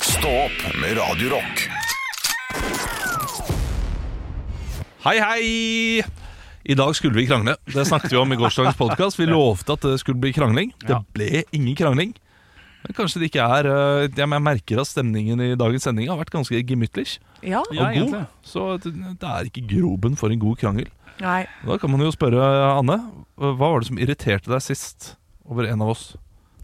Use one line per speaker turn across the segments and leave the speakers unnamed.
Stå opp med Radio Rock.
Hei, hei! I dag skulle vi krangle. Det snakket vi om i gårsdagens podkast. Vi lovte at det skulle bli krangling. Det ble ingen krangling. Men kanskje det ikke er eh, Jeg jeg merker at stemningen i dagens sending har vært ganske gemyttlig
Ja,
og
Ja,
god.
egentlig.
Så det det er ikke groben for en god krangel.
nei.
Da kan man jo spørre Anne. eh, Hva var det som irriterte deg sist over en av oss?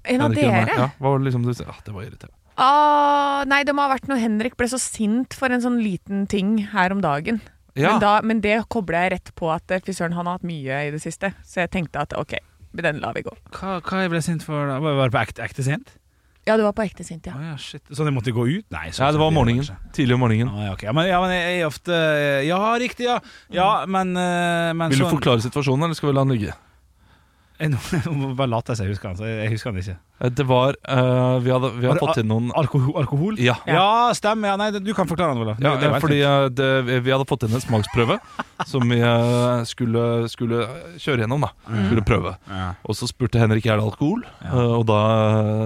En av
Henrik og meg.
dere?
Ja, hva var det liksom du sa? Ah, det var irriterende.
Ah, nei, det må ha vært når Henrik ble så sint for en sånn liten ting her om dagen.
Ja,
Men, da, men det kobla jeg rett på at eh, fy søren, han har hatt mye i det siste. Så jeg tenkte at ok, den lar vi gå.
Hva, hva jeg ble sint for? da? Var jeg bare på ekte, ekte sint?
Ja, du var på ekte sint, ja.
Å ja, shit. Sånn jeg måtte gå ut? Nei, sånn
ja, det var
sent
om morgenen.
kanskje.
Tidlig om morgenen.
Ah, ja, ok. ja, men, ja, men jeg er ofte eh, Ja, riktig, ja! Ja, men, eh, men
Vil du
sånn-
forklare situasjonen, eller skal vi la den ligge?
Jeg- Nå nå bare later jeg som jeg husker han, så jeg jeg husker han ikke.
Eh, Det var eh, Vi hadde, vi hadde
Var det
fått inn noen
Alkohol? alkohol?
Ja.
Ja. stemmer. Ja, nei, det- du kan forklare han, Olav.
Ja,
Det- det var helt
fordi
fint.
eh, det, vi hadde fått inn en smaksprøve som vi eh, skulle, skulle kjøre gjennom. da Skulle prøve
Mm. ja.
Og så spurte Henrik er det alkohol,
Ja. Mm.
Eh, og da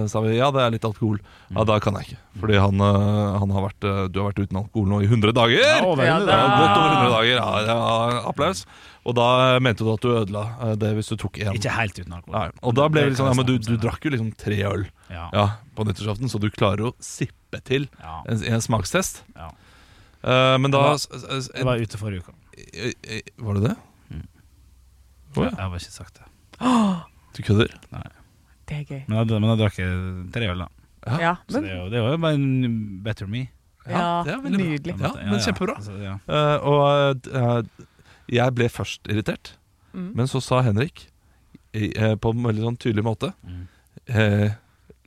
eh, sa vi ja, det er litt alkohol. Ja, da kan jeg ikke, fordi han, eh, han har vært, eh, du har vært uten alkohol nå i 100 dager.
Ja,
Ja,
da-
overveldende, det.
godt over 100 dager. Ja, ja, applaus. Og da eh, mente du at du ødela eh, det hvis du tok én.
Ikke helt uten alkohol.
Nei, og da ble
Det
vi liksom,
kan
ja,
jeg
men du,
snakke
du
om senere.
drakk jo liksom tre øl
Ja.
ja, på nyttårsaften, så du klarer å sippe til
Ja.
en, en smakstest.
Ja.
Eh, men da
Det Jeg var Mm. ute forrige uke.
eh, Var det det? Å, ja.
Jeg har ikke sagt det.
Du kødder?
Det er gøy.
Men da, men da drakk jeg tre øl, da.
Ja.
Ja,
Så
men,
det er jo- det er jo bare en better me.
ja,
det er veldig bra.
nydelig.
Ja, men kjempebra.
Så, ja.
Eh, og eh, jeg ble først irritert,
Mm.
men så sa Henrik i, eh, på en veldig sånn tydelig måte
Mm.
eh,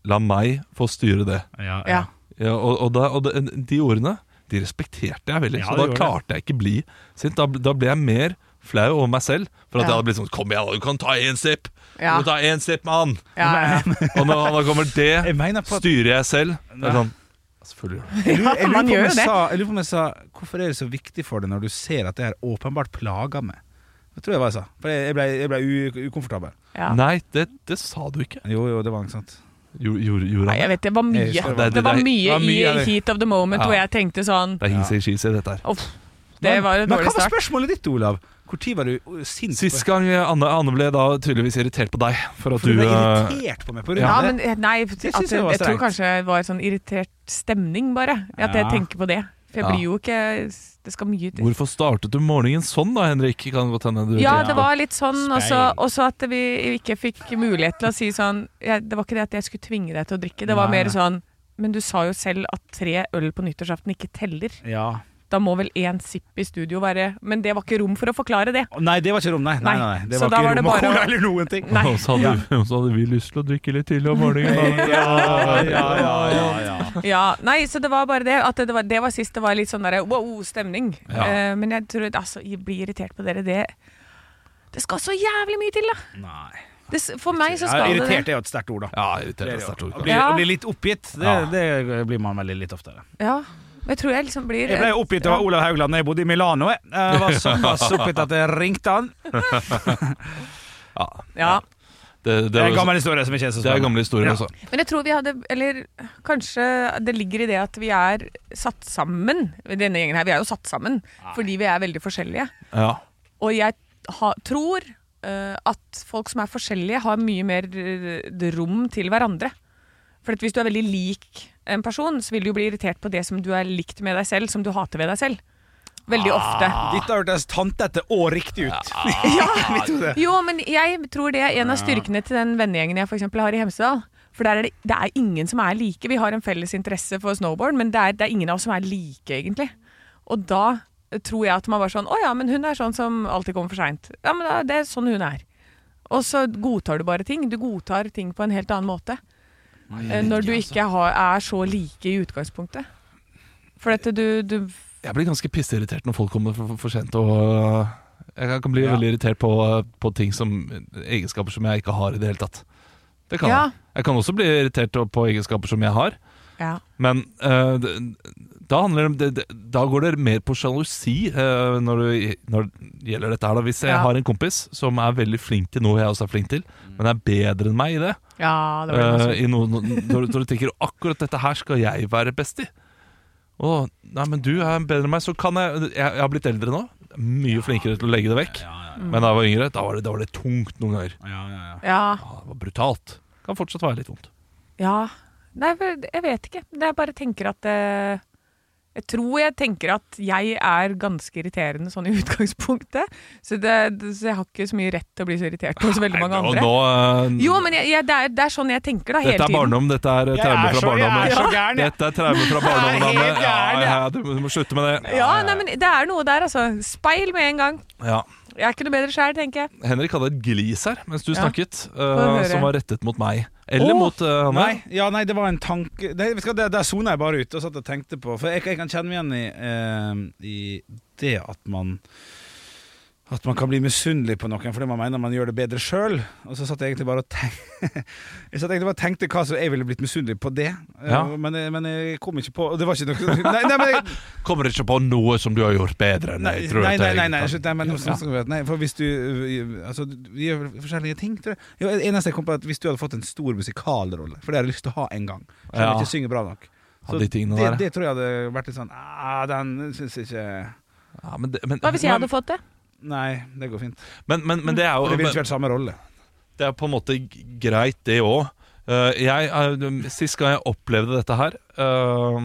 La meg få styre det.
Ja, ja.
Ja.
Ja, og, og, da, og de, de ordene de respekterte jeg veldig,
Ja,
så
det
da
gjorde
klarte jeg ikke bli sint. Da, da ble jeg mer flau over meg selv for at jeg
Ja.
hadde blitt sånn Kom igjen, da, du kan ta én sipp!
Ja,
Du kan ta én sipp, mann!
ja, ja.
Og når han da kommer det,
Jeg mener på at
styrer jeg selv. Det
Nei.
er sånn Selvfølgelig. gjør du det.
jeg lurer, jeg lurer
man
på om
gjør jo
jeg
det.
sa, jeg lurer på om jeg sa Hvorfor er det så viktig for deg når du ser at det her åpenbart plager meg? Det tror jeg var jeg sa. For jeg jeg ble, jeg ble u ukomfortabel.
ja.
Nei, det, det sa du ikke.
Jo, jo, det var sånn- ikke sant.
Jo- Gjorde gjorde han det?
Nei, jeg vet det var
Jeg husker
mye.
det var-
Det var
Det
mye
var mye,
i
eller?
heat of the moment
Ja.
hvor jeg tenkte sånn
Det er hingsi cheesy, dette her.
Uff, det var en dårlig
men, men hva var
start.
spørsmålet ditt, Olav? Når var du uh, sint?
Sist gang eh, Anne, Anne ble da tydeligvis irritert på deg for at
for du
du eh,
ble irritert på meg på grunn
Ja,
av
men
det.
eh, nei, at, jeg,
synes jeg var
tror
strengt.
kanskje det var sånn irritert stemning, bare. At jeg
Ja.
tenker på det. For jeg
Ja.
blir jo ikke Det skal mye til.
Hvorfor startet du morgenen sånn da, Henrik? Kan godt hende du
Ja,
tenkte på.
det var litt sånn, og så
Speil.
og så at vi ikke fikk mulighet til å si sånn ja, Det var ikke det at jeg skulle tvinge deg til å drikke, det var mer
Nei.
sånn Men du sa jo selv at tre øl på nyttårsaften ikke teller.
Ja.
Da må vel én sipp i studio være Men det var ikke rom for å forklare det.
Å, Nei, det var ikke rom, nei. nei,
Nei,
nei, nei.
så
Det var
da
ikke
var det
rom og
bare å-
cola eller noen ting.
Nei.
Og så hadde, og så hadde vi lyst til å drikke litt tidlig om morgenen. da.
Ja, ja, ja, ja, ja.
Ja, nei, så det var bare det. At det var, det var sist det var litt sånn derre wow-stemning.
Ja.
men jeg tror altså, jeg blir irritert på dere, det Det skal så jævlig mye til, da!
Nei.
Det, s- for meg så
Ja,
skal det
irritert er jo et sterkt ord, da.
Ja, irriterende
Det er
sterkt
det jo.
ord,
Å
kanskje.
bli,
Ja.
å bli litt oppgitt, det,
Ja.
det blir man veldig litt oftere.
Ja. Men jeg tror jeg liksom blir
Jeg ble oppgitt over Olav Haugland da jeg bodde i Milano. Jeg Eh, Jeg var såpass oppgitt at jeg ringte han.
Ja,
Ja.
det,
Det
det,
er en
var,
gammel historie som ikke er så
det er
spennende.
gamle historier
Ja.
også.
Men jeg tror vi hadde Eller kanskje det ligger i det at vi er satt sammen. Denne gjengen her, vi er jo satt sammen fordi vi er veldig forskjellige.
Ja.
Og jeg ha, tror eh, at folk som er forskjellige, har mye mer eh, rom til hverandre. For at hvis du er veldig lik en person, så vil du jo bli irritert på det som du er likt med deg selv, som du hater ved deg selv. Veldig ofte.
Dette hørtes tantete og riktig ut.
Jo, men jeg tror det er en av styrkene til den vennegjengen jeg for eksempel har i Hemsedal. For der er det, det er ingen som er like. Vi har en felles interesse for snowboard, men det er, det er ingen av oss som er like, egentlig. Og da tror jeg at man bare sånn Å ja, men hun er sånn som alltid kommer for seint. Ja, men da, det er sånn hun er. Og så godtar du bare ting. Du godtar ting på en helt annen måte. eh, Når du
altså.
ikke har, er så like i utgangspunktet. For dette du, du
Jeg blir ganske pissirritert når folk kommer for, for, for sent. Og øh, jeg kan bli
Ja.
veldig irritert på, øh, på ting som egenskaper som jeg ikke har i det hele tatt. Det kan
Ja.
jeg. Jeg kan også bli irritert på egenskaper som jeg har,
Ja.
men øh, det, Da, handler det, det, det- da går det mer på sjalusi eh, når, det- når det gjelder dette. her da. Hvis jeg
Ja. Mm.
har en kompis som er veldig flink til noe jeg også er flink til, men er bedre enn meg i det,
Ja, det blir
eh,
vanskelig.
i noe, når, du- når du tenker akkurat dette her skal jeg være best i Å, nei, men du er bedre enn meg, så kan jeg Jeg, jeg har blitt eldre nå. Mye flinkere til å legge det vekk.
Ja, ja,
Mm.
Men da jeg var yngre, da var det, da var det tungt noen ganger.
ja, ja, ja.
Ja.
Ja, det var brutalt. Kan fortsatt være litt vondt.
Ja. Nei, for jeg vet ikke. Det er bare tenker at eh, Jeg tror jeg tenker at jeg er ganske irriterende sånn i utgangspunktet. Så, det, det- så jeg har ikke så mye rett til å bli så irritert på så veldig mange
Og
andre.
nå, eh,
Jo, men jeg, jeg, det, er, det er sånn jeg tenker da, hele
Dette er
tiden.
barndom, dette er traume fra barndommen.
så gæren, jeg.
Dette er traume fra barndommen,
Jeg er helt
Anne.
gæren,
Ja, ja, du, må- du må slutte med det.
Ja, nei, men det er noe der, altså. Speil med en gang.
Ja.
Jeg er ikke noe bedre sjæl, tenker jeg.
Henrik hadde et glis her mens du
Ja.
snakket,
høre.
eh, som var rettet mot meg. Eller
Åh,
mot eh, Anne.
Nei, ja, nei, det var en tanke Nei, vet du hva, Der, der sona jeg bare ut og satt og tenkte på For jeg, jeg kan kjenne meg igjen i, eh, i det at man At man kan bli misunnelig på noen fordi man mener man gjør det bedre sjøl. Og så satt jeg egentlig bare og tenkte Jeg satt egentlig bare og tenkte hva som jeg ville blitt misunnelig på det. Eh,
Ja.
Men, jeg- men jeg kom ikke på og Det var ikke noe Nei, nei, men jeg,
Kommer ikke på noe som du har gjort bedre enn
Nei,
jeg tror
nei,
at
nei,
jeg
nei, nei,
kan.
slutt, nei, men nå snakker vi om det. nei, for hvis du øh, Altså, vi gjør forskjellige ting, tror jeg. Jo, det eneste jeg kom på, er at hvis du hadde fått en stor musikalrolle, for det har jeg lyst til å ha en gang, selv om
Ja.
jeg ikke synger bra nok
Av de tingene
det,
der.
det tror jeg hadde vært litt sånn ah, Den syns jeg ikke
Ja, men, det- men,
Hva hvis jeg hadde fått det?
Nei, det går fint.
men, men, men det er jo
For det ville ikke vært samme rolle.
det er på en måte g- greit, det Eh, òg. sist gang jeg opplevde dette her eh,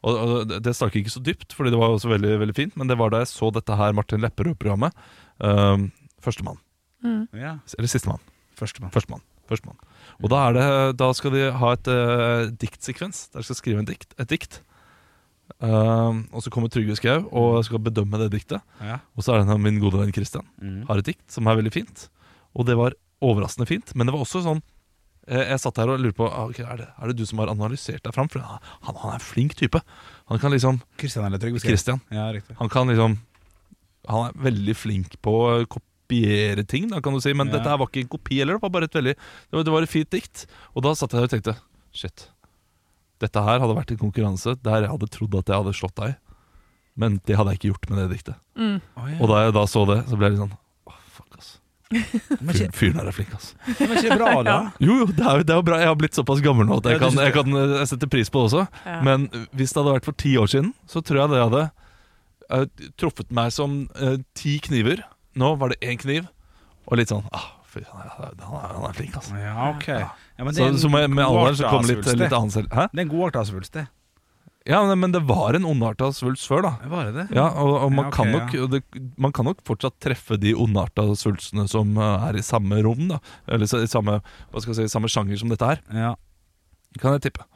og, og det- Det stakk ikke så dypt, Fordi det var også veldig, veldig fint, men det var da jeg så dette her Martin Lepperød-programmet. Uh, Førstemann.
Mm,
Ja.
Eller sistemann.
Førstemann.
Førstemann. Førstemann. Og da, er det, da skal de ha et eh, diktsekvens. Der de skal skrive en dikt, et dikt. Eh, og så kommer Trygve Skau og skal bedømme det diktet.
Ja.
Og så er det min gode venn Christian
Mm.
har et dikt som er veldig fint. Og det var overraskende fint, men det var også sånn eh, Jeg satt her og lurte på ah, ok, er, det, er det du som har analysert deg fram? For han, han er en flink type. Han kan liksom
Kristian eller Trygve Skau.
Christian.
Ja, riktig.
Han kan liksom Han er veldig flink på å kopiere ting, da, kan du si. Men
Ja.
dette her var ikke en kopi heller. Det var bare et veldig det var, det var et fint dikt. Og da satt jeg der og tenkte Shit. Dette her hadde vært en konkurranse der jeg hadde trodd at jeg hadde slått deg. Men det hadde jeg ikke gjort med det diktet.
mm.
Å, ja.
Og da jeg da så det, så ble jeg litt sånn Åh, fuck, ass.
Men
Fyren
ikke,
fyren her er flink, ass.
men ikke bra, da?
Jo, jo, det er jo det er jo bra. Jeg har blitt såpass gammel nå at jeg
Ja, du
kan,
synes
jeg kan eh, sette pris på det også.
Ja.
Men hvis det hadde vært for ti år siden, så tror jeg det hadde eh, truffet meg som eh, ti kniver. Nå var det én kniv, og litt sånn ah, fy, han, er, han, er, han er flink, ass.
Ja, ok. Ja, men det
Så,
er en
så med, med alderen så kom litt,
godarta svulst,
litt
det.
annen selv... Hæ?
Det er en godarta svulst, det.
Ja, men, men det var en ondarta svulst før, da.
Var det det?
Ja, og, og man,
Ja, ok,
kan nok, og det, man kan nok fortsatt treffe de ondarta svulstene som eh, er i samme rom, da. Eller så- i samme, hva skal jeg si, samme sjanger som dette her.
Ja.
Kan jeg tippe.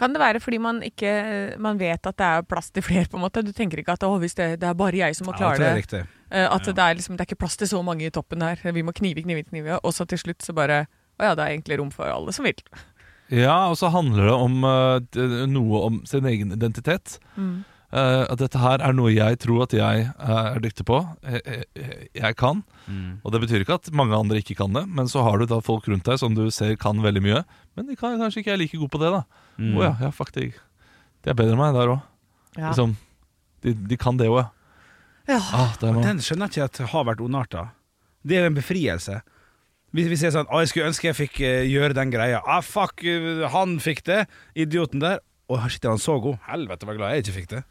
Kan det være fordi man ikke eh, Man vet at det er plass til flere, på en måte? Du tenker ikke at å, hvis det, det er bare jeg som må
Ja, det
klare
tror jeg er
det.
riktig.
Eh, At det, er liksom, det er ikke plass til så mange i toppen her. Vi må knive, knive, knive. Og så til slutt så bare Å ja, det er egentlig rom for alle som vil.
Ja, og så handler det om eh, d- noe om sin egen identitet. Eh, at dette her er noe jeg tror at jeg eh, er dyktig på. Jeg, jeg, jeg kan.
Mm.
Og det betyr ikke at mange andre ikke kan det, men så har du da folk rundt deg som du ser kan veldig mye. Men de kan kanskje ikke er like gode på det, da. Å
Mm.
ja, ja, fuck det. De er bedre enn meg der òg.
Ja.
Liksom, de, de kan det òg, ja.
Ja.
Ah, det er noe.
Den skjønner jeg ikke at har vært ondarta. Det er jo en befrielse. Hvis vi sier sånn Å, jeg skulle ønske jeg fikk eh, gjøre den greia. Ah, fuck, eh, han fikk det. Idioten der. Å, her sitter han så god. Helvete, var glad jeg ikke fikk det.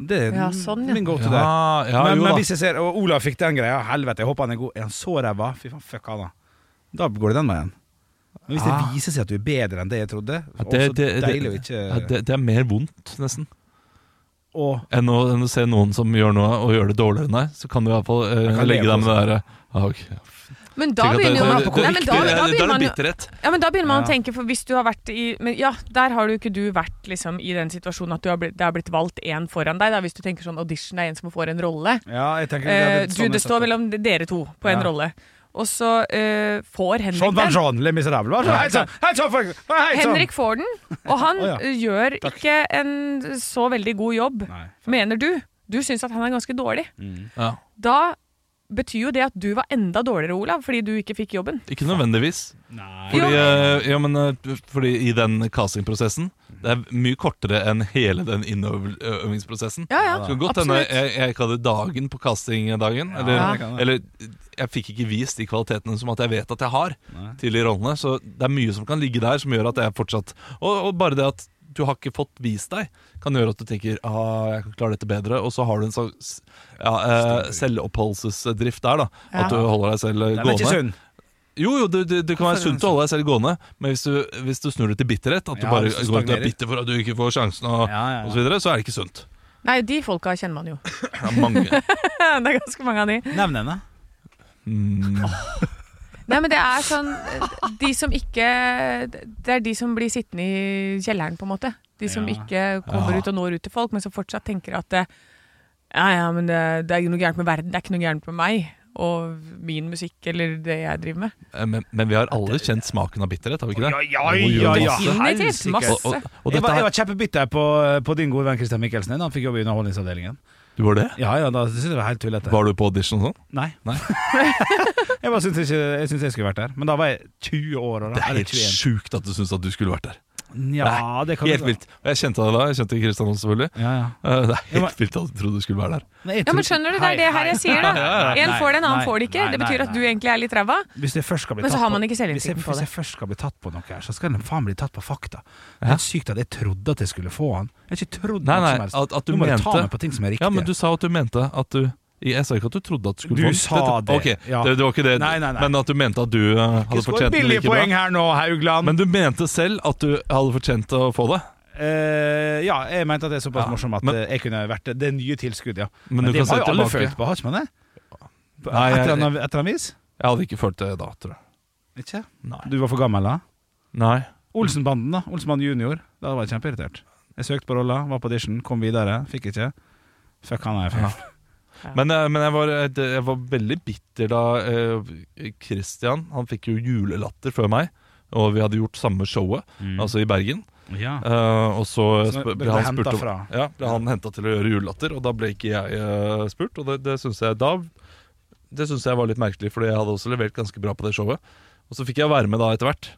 Det er
Ja, sånn, ja.
min go to
ja,
der.
ja,
men,
jo
men
da.
hvis jeg ser Å, Olav fikk den greia. Helvete, jeg håper han er god. Er han så ræva? Fy faen, fuck han, da. Da går det den veien. Men hvis
Ah.
det viser seg at du er bedre enn det jeg trodde,
Ja,
å,
det,
så
det, det,
deilig å ikke
ja, det, det er mer vondt, nesten.
Å,
enn å, enn å se noen som gjør noe og gjør det dårligere enn deg, så kan du i hvert fall eh,
Jeg kan
legge
leve
deg med det
også.
derre ah, ok.
Men da
Tenk at
begynner jo man
det- det-
Nei, men
det-
da, da
det- det er
begynner
noe
man jo
bitterhet.
Ja, men da begynner man
Ja.
å tenke, for hvis du har vært i men Ja, der har jo ikke du vært liksom, i den situasjonen at du har blitt, det har blitt valgt én foran deg, da, hvis du tenker sånn audition er en som får en rolle.
ja, jeg tenker det er
Eh,
litt
du,
sånn
det
jeg
står
setter-
mellom de- dere to på en
Ja. Sånn,
rolle. Og så eh, får Henrik
Jean
den.
Valjean, Les Misérables. Hva så- Hei sann! Hei sann! folk. Hei sann!
Henrik får den, og han
liksom. Å, ja.
eh, gjør ikke en så veldig god jobb,
Nei.
mener du. Du syns at han er ganske dårlig.
Ja.
Da betyr jo det at du var enda dårligere, Olav, fordi du ikke fikk jobben.
Ikke nødvendigvis.
Nei.
Fordi,
Jo.
eh, ja, men, eh, fordi i den castingprosessen Det er mye kortere enn hele den innøvingsprosessen.
Ja, ja.
Det kan godt hende
Absolutt.
jeg, jeg ikke hadde dagen på castingdagen.
Ja,
det
Eller,
kan det.
eller jeg fikk ikke vist de kvalitetene som at jeg vet at jeg har
Nei.
til de rollene. Så det er mye som kan ligge der som gjør at jeg fortsatt Og, og bare det at du har ikke fått vist deg, kan gjøre at du tenker ah, jeg kan klare dette bedre. Og så har du en sånn s- ja, eh, selvoppholdelsesdrift der, da. At du
Ja.
holder deg selv eh,
Den er ikke
gående.
sunn.
Jo, jo, det, det, det kan være
Hvorfor er den
sunt å holde deg selv gående, men hvis du, hvis du snur det til bitterhet, at du
Ja,
bare
hvis du
går og er
stagnerer.
bitter for at du ikke får sjansen, og,
Ja, ja,
og så,
ja.
videre, så er det ikke sunt.
Nei, de folka kjenner man jo.
Det er mange.
det er ganske mange av de.
Nevn henne.
Mm.
Nei, men det er sånn De som ikke Det er de som blir sittende i kjelleren, på en måte. De som
Ja.
ikke kommer
Ja.
ut og når ut til folk, men som fortsatt tenker at eh, Ja, ja, men det, det er ikke noe gærent med verden. Det er ikke noe gærent med meg og min musikk eller det jeg driver med.
Eh, Men, men vi har alle kjent smaken av bitterhet, har vi ikke det?
ja,
Å, gjør det masse.
Definitivt,
helsike.
masse.
Og, og, og
jeg,
dette
var, jeg
her,
var kjempebitter på, på din gode venn Christian Michelsen da han fikk jobb i Underholdningsavdelingen.
du var det?
Ja, ja, da syntes jeg det var helt tullete.
Var du på audition og sånn?
Nei.
Nei.
jeg bare syntes ikke jeg, syntes jeg skulle vært der. Men da var jeg 20 år. Og da,
Det er
eller
helt sjukt at du syns at du skulle vært der.
21. Ja, det kan du-
Helt vilt. Og jeg kjente deg da, jeg kjente Kristian også selvfølgelig.
Ja, ja.
Eh, Det er
Ja, men-
helt vilt at du trodde du skulle være der.
Nei, jeg
Ja, men
tror-
skjønner du, det
Hei,
er det her
hei.
jeg sier, da.
Ja, ja, ja.
En får det, en annen
Nei,
får det ikke.
nei,
Det
nei,
betyr at
nei.
du egentlig er litt ræva.
Hvis jeg først skal bli
Men så
tatt
har
på-
man ikke selvinnsikten
hvis jeg-
på
Hvis
det.
jeg først skal bli tatt på noe her, så skal den faen bli tatt på fakta. Det er helt sykt at jeg trodde at jeg skulle få han. Jeg har ikke trodd
Nei,
noe
nei,
som helst.
at, at du
Nå må jeg ta
mente
meg på ting som er riktig.
Ja, men du sa at du mente at du Jeg sa ikke at du trodde at du skulle
Du
få den.
sa det,
Ok,
ja.
det, det var ikke det,
Nei, nei, nei.
men at du mente at du eh, hadde fortjent det like bra.
her nå, Haugland.
Men du mente selv at du hadde fortjent å få det.
Eh, ja, jeg mente at det er såpass
Ja,
morsom at
men-
eh, jeg kunne vært det. Det nye tilskuddet, ja.
Men du
det
kan se
har jo alle
tilbake.
følt på, har ikke man det? På-
Nei, jeg-
Et eller annet- et eller annet vis?
Jeg hadde ikke følt det da, tror jeg.
Ikke?
Nei.
Du var for gammel da?
Nei.
Olsenbanden, da. Olsenbanden junior. Da var jeg kjempeirritert. Jeg søkte på rolla, var på audition, kom videre, fikk ikke. Fuck han er
Ja.
feil.
Men, eh, men jeg, var, eh, det- jeg var veldig bitter da eh, Christian Han fikk jo julelatter før meg, og vi hadde gjort samme showet, altså i Bergen.
Ja.
Eh, og så,
Mm. Så
sp-
ble
ble
du
han
hentet
spurt om
fra?
Ja, ble han henta til å gjøre julelatter, og da ble ikke jeg eh, spurt. Og det, det syns jeg da Det synes jeg var litt merkelig, Fordi jeg hadde også levert ganske bra på det showet. Og så fikk jeg være med da etter hvert.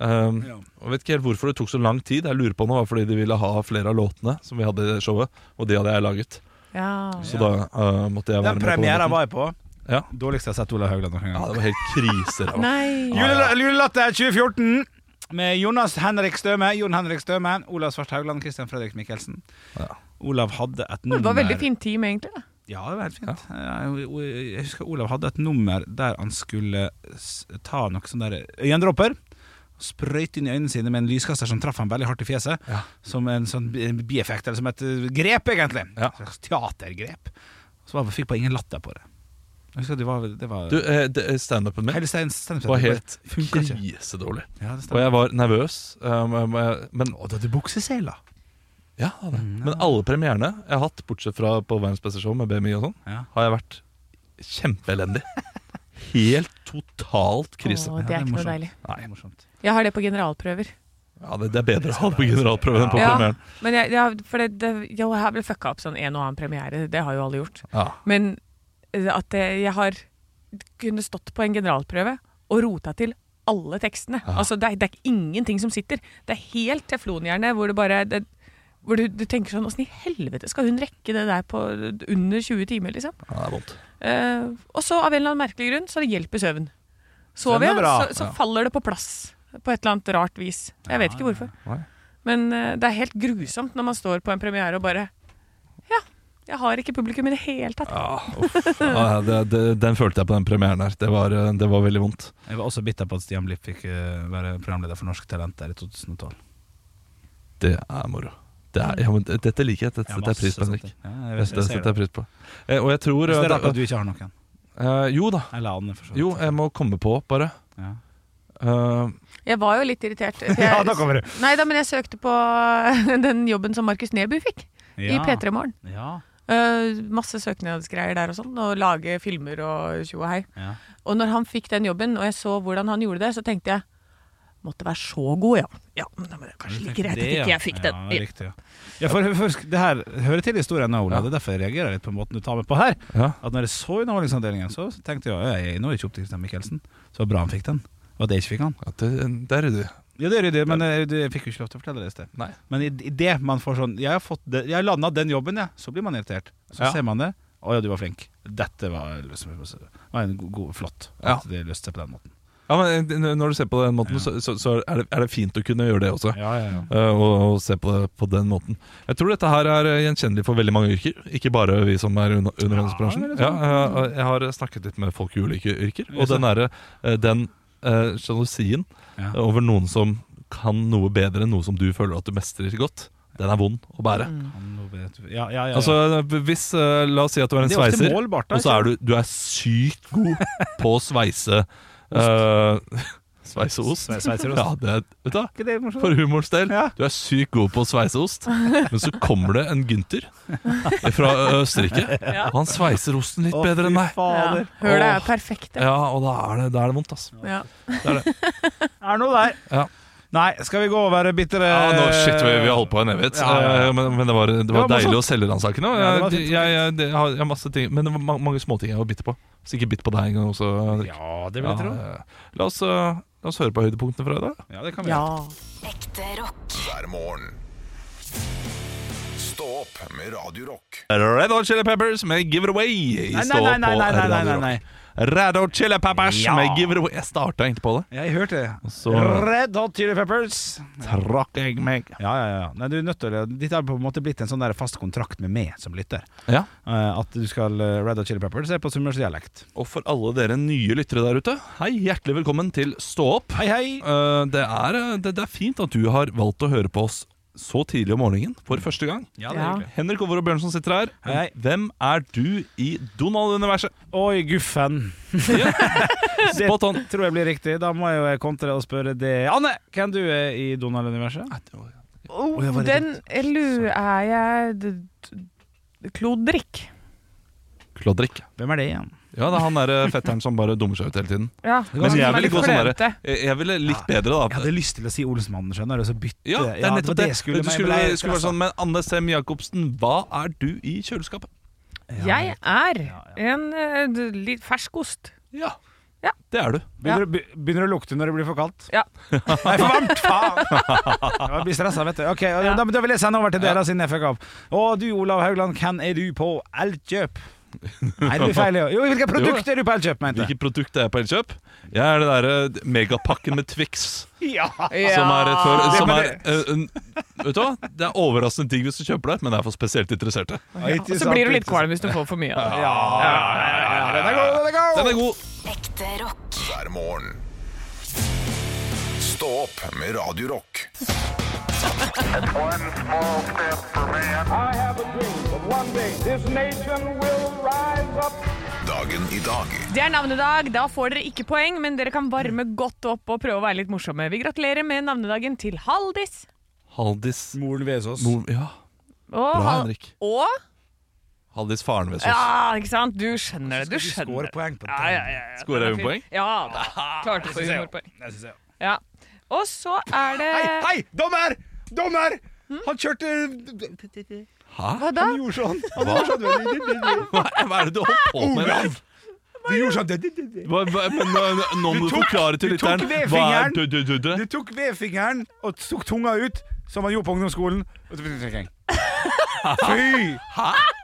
Um,
Ja.
Og vet ikke helt hvorfor det tok så lang tid. Jeg lurer på om det var fordi de ville ha flere av låtene som vi hadde i det showet, og de hadde jeg laget.
Ja.
Så
Ja.
da eh, måtte jeg være
Den
med på den
premieren
måten.
var jeg på.
Ja.
Dårligst jeg har sett Olav Haugland noen
ja,
gang.
det var helt krise. da.
Nei.
Julel- Julelatter 2014 med Jonas Henrik Støme, Jon Henrik Støme, Olav Svart Haugland, Christian Fredrik Mikkelsen.
Ja.
Olav hadde et nummer
Det var veldig fint team, egentlig. da.
Ja, det var helt fint. Eh, o- o- Jeg husker Olav hadde et nummer der han skulle s- ta noe sånn der øyendråper. Sprøyte inn i øynene sine med en lyskaster som traff ham veldig hardt i fjeset.
Ja.
Som en sånn bi- bieffekt, eller som et eh, grep, egentlig.
Ja.
Et slags teatergrep. Så var, fikk bare ingen latter på det. Jeg husker det var, det var
Du, eh, det- Standupen min
Hele stein, stein,
var helt
funka ikke.
krisedårlig.
Ja,
Og
det stemmer.
jeg var nervøs. Um, um, eh, men
Og du hadde bukseseiler.
Ja, det. hadde jeg.
Mm,
Men alle premierene jeg har hatt, bortsett fra på Verdens beste show med BMI og sånn,
Ja.
har jeg vært kjempeelendig. Helt totalt krise.
Å,
Ja, det
det
er
er ikke noe
morsomt.
deilig.
Nei, morsomt.
Jeg har det på generalprøver.
Ja, det, det er bedre å ha det på generalprøven enn på
Ja.
premieren.
Men jeg, jeg, for det, det, jeg har vel fucka opp sånn en og annen premiere, det har jo alle gjort.
Ja.
Men eh, at det, jeg har kunne stått på en generalprøve og rota til alle tekstene. Altså, det, er, det er ingenting som sitter. Det er helt teflonhjerne hvor det bare det, hvor du, du tenker sånn Åssen i helvete skal hun rekke det der på under 20 timer, liksom?
ja, det er vondt.
Eh, og så, av en eller annen merkelig grunn, så hjelper søvn. Sover jeg,
Søvn er bra,
så, så
ja.
faller det på plass på et eller annet rart vis. Jeg vet ikke hvorfor.
Nei.
Men eh, det er helt grusomt når man står på en premiere og bare Ja, jeg har ikke publikum i det hele tatt.
Ja, uff. Ja, det, det, den følte jeg på den premieren her. Det var, eh, det var veldig vondt.
Jeg var også bitter på at Stian Blipp fikk eh, være programleder for Norske Talenter i 2012.
Det er moro. Det er, ja, men det- dette liker jeg. Dette
Ja,
setter jeg
masse
pris på,
sånne
Henrik.
ting. Ja, jeg
Det
vet- jeg ser
setter jeg
det.
pris på. Eh, Og jeg tror
Så det er
eh,
rart at du ikke har noen.
eh, Jo da.
Eller Anne, for så vidt.
Jo, jeg må komme på, bare.
Ja.
Eh,
Jeg var jo litt irritert. for Jeg,
Ja, da kommer du.
Nei da, men jeg søkte på den jobben som Markus Neby fikk i P3 Morgen.
Ja.
Eh, masse søknadsgreier der og sånn, og lage filmer og tjo og hei.
Ja.
Og når han fikk den jobben, og jeg så hvordan han gjorde det, så tenkte jeg Måtte være så god, ja. Ja, men da var det kanskje like greit at ikke jeg fikk den.
Ja, det,
Ja.
er riktig, ja. Ja, for, for, det her hører til historien nå, Ola.
Ja.
Det er derfor jeg reagerer litt på måten du tar meg på her.
ja.
At når jeg så Underholdningsavdelingen, så tenkte jeg ja, jeg nå er ikke opp til Christian Michelsen. Så bra han fikk den. Og at jeg ikke fikk han.
Ja, det, der er du.
Ja, det er ryddig, men eh, du, jeg fikk jo ikke lov til å fortelle det i sted.
Nei.
Men i, i det man får sånn Jeg har, fått det- jeg har landa den jobben, jeg. Så blir man irritert. Så
Ja.
ser man det. Å ja, du var flink. Dette var, liksom, var en god, god, flott.
Ja.
At de løste seg på den måten.
Ja, men eh, Når du ser på den måten,
Ja.
så, så, så er, det, er det fint å kunne gjøre det også.
Ja, ja, ja.
eh, Og, og se på det på den måten. Jeg tror dette her er eh, gjenkjennelig for veldig mange yrker. Ikke bare vi som er under underholdningsbransjen.
det er
Ja,
sant.
eh, jeg har snakket litt med folk i ulike yrker,
Ja,
og den derre eh, den eh, sjalusien
Ja.
over noen som kan noe bedre enn noe som du føler at du mestrer godt, den er vond å bære.
Nå vet du- Ja, ja, ja, ja.
Altså, hvis, eh, La oss si at du er en
det er ofte
sveiser.
målbart, da.
Og så er du, du er sykt god på å sveise eh, Sveiseost.
Sve- sveiserost.
Ja, det, er- vet du, hva?
ikke det morsomt?
for humorens del.
Ja.
Du er sykt god på å sveise ost, men så kommer det en Gynter fra Østerrike.
Ja.
Og han sveiser osten litt
Å,
bedre enn
fy
meg.
Fader.
Hølet er
Åh.
perfekt. det.
Ja, og da er det, da er det vondt, altså.
Ja.
Er noe der.
Ja.
Nei, skal vi gå og være bitre
Ja, nå, shit, vi, vi har holdt på en evighet.
Ja, ja, ja.
Eh, Men, men det var, det var
var
deilig å
morsomt.
selge den saken òg.
Ja, det var
Jeg,
fint.
jeg, jeg, det har- jeg har masse ting Men det var ma- mange småting jeg var bitter på. Så ikke bitt på deg engang også. Henrik.
Ja, det vil jeg tro.
Ja, eh, la, oss, eh, la oss høre på høydepunktene fra i dag.
Ja, det kan vi
ja.
gjøre.
Ekte rock.
hver morgen. Stå opp med Radio Rock.
Red Hot Chili Peppers med Give It Away.
Nei, nei, nei, nei, nei, nei, nei, nei.
Red Hot Chili Peppers
Ja.
med Give It Away. Jeg starta egentlig på det.
Jeg hørte det.
Så
Red Hot Chili Peppers.
trakk jeg meg.
Ja, ja, ja. Nei, du er nødt til å Dette har på en måte blitt en sånn der fast kontrakt med meg som lytter.
Ja.
Eh, at du skal eh, Red Hot Chili Peppers er på sunnmørsdialekt.
Og for alle dere nye lyttere der ute, hei, hjertelig velkommen til Stå opp.
Hei, hei!
Eh, det, er, eh, det, det er fint at du har valgt å høre på oss så tidlig om morgenen for første gang.
Ja,
det er Ja. hyggelig.
Henrik Over og Bjørnson sitter her.
Hei, hei.
Hvem er du i Donald-universet?
Oi, guffen.
Ja.
Det
Spot on.
tror jeg blir riktig. Da må jeg jo eh, kontre og spørre det. Anne, hvem du er i Donald-universet?
Oh,
Oi, jeg var litt sånn.
den lu er jeg d- d- Klodrik.
Klodrik.
Hvem er det igjen?
Ja, det er han derre fetteren som bare dummer seg ut hele tiden.
Ja.
Men jeg
han som er
ville
litt
gå sånn der-
klønete.
Jeg, jeg ville likt bedre,
Jeg
da.
hadde lyst til å si Olsmannen, skjønner du, og så bytte
Ja, det er
var
nettopp det.
jeg skulle,
du
men jeg
skulle,
ble
skulle være sånn, Men Anne Sem Jacobsen, hva er du i kjøleskapet?
stresset. Ja.
Jeg er
Ja,
en eh, d- litt fersk ost.
Ja,
Ja.
det er du.
Ja.
Begynner, å- be- begynner å lukte når det blir for kaldt?
Ja.
Nei, for varmt! Faen! Jeg blir stressa, vet du. Ok,
Ja.
da, da vil jeg sende over til dere,
Ja.
siden jeg fikk av. Og du, Olav Haugland, hvem er du på Elkjøp? Nei, det blir feil. Jo, jo hvilke produkter er du på Elkjøp, mente jeg.
Hvilket produkt er jeg på Elkjøp? Jeg er det derre megapakken med Twix.
Ja.
Som er rett før
Det-
som
men
er, eh, en- Vet du hva? Det er overraskende digg hvis du kjøper det, men det er for spesielt interesserte.
Og så blir du litt kvalm hvis du får for mye av det.
Ja, ja, ja, ja. Den er god, den er god!
Den er god!
Ekte rock.
hver morgen. Stå opp med Radio Rock.
I have a dream that one day this nation will rise up.
Dagen i dag
Det er navnedag. Da får dere ikke poeng, men dere kan varme godt opp og prøve å være litt morsomme. Vi gratulerer med navnedagen til Haldis.
Haldis
Moren Vesaas.
Mor, Ja,
Og,
bra,
Hal-
Henrik.
og
Haldis faren ved oss.
Ja, ikke sant? Du skjønner det. Du
Skal vi
skjønner
score
det.
poeng på
Ja, ja, ja, ja.
Skårer
Den er
hun
fin.
poeng?
Ja. da. Klarte å få humorpoeng.
Jeg synes jeg.
Ja. Og så er det
Hei, hei, dommer! Dommer! Han kjørte
Hæ?
Hva da?
Han gjorde sånn. Han gjorde sånn.
Hva er hva er det du holder på med? Henrik?
Du gjorde sånn.
Hva, hva, men nå, nå må
Du
du,
tok-
forklare til
du tok
lytteren.
ved
Hva er
fingeren.
du, du, du, du?
Du tok vedfingeren og tok tunga ut, som han gjorde på ungdomsskolen. Og så Fy!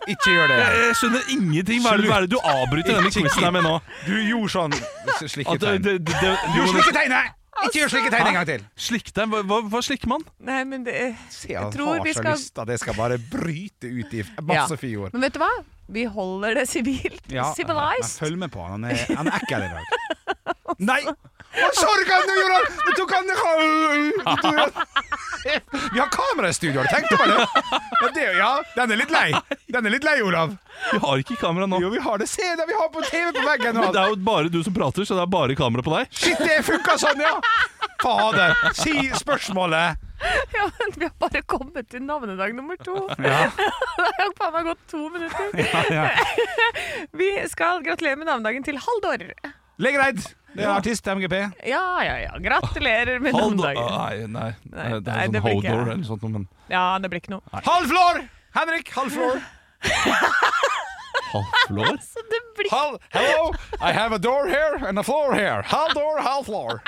Ikke gjør det.
Jeg skjønner ingenting. Hva er det, hva er det du avbryter denne quizen her med nå?
Du gjorde sånn. Slike
At, det,
tegn.
det, det,
Du
du må
gjorde
nesten-
slike tegn, nei! Ikke gjør slike tegn en gang til.
slikk deg. Hva, hva, hva slikker man?
Nei, men det
Se, han
tror
har
vi
så
skal-
lyst til at jeg skal bare bryte ut i masse
ja.
fyord.
Men vet du hva? Vi holder det sivilt.
Ja, men
Civilized.
Følg med på han. Han er, han er ekkel i dag. Nei! Han sorga! Nå gjorde han Nå tok han Vi har kamera i studio, har du tenkt over det? Ja, det? Ja, den er litt lei. Den er litt lei, Olav.
Vi har ikke kamera nå.
Jo, vi har det. Se det, vi har på TV på veggen.
Men
Og
det
alt.
er jo bare du som prater, så det er bare kamera på deg.
Shit, det funka sånn, ja! Fader. Si spørsmålet.
Ja, men vi har bare kommet til navnedag nummer to.
Ja.
Det har jo faen meg gått to minutter. Vi skal gratulere med navnedagen til Haldor.
Legereid. Det er artist MGP.
Ja, ja, ja. Gratulerer med
Hold,
navnedagen.
nei, nei,
Nei,
det
nei,
er
det
sånn
blir ikke
Hodor
jeg.
eller noe sånt. Men
Ja, det blir ikke noe.
Halv floor! Henrik, halv floor.
Halvt lår?
Så det blir
Hal Hello, I have a door here and a floor here. Halv door, halv floor.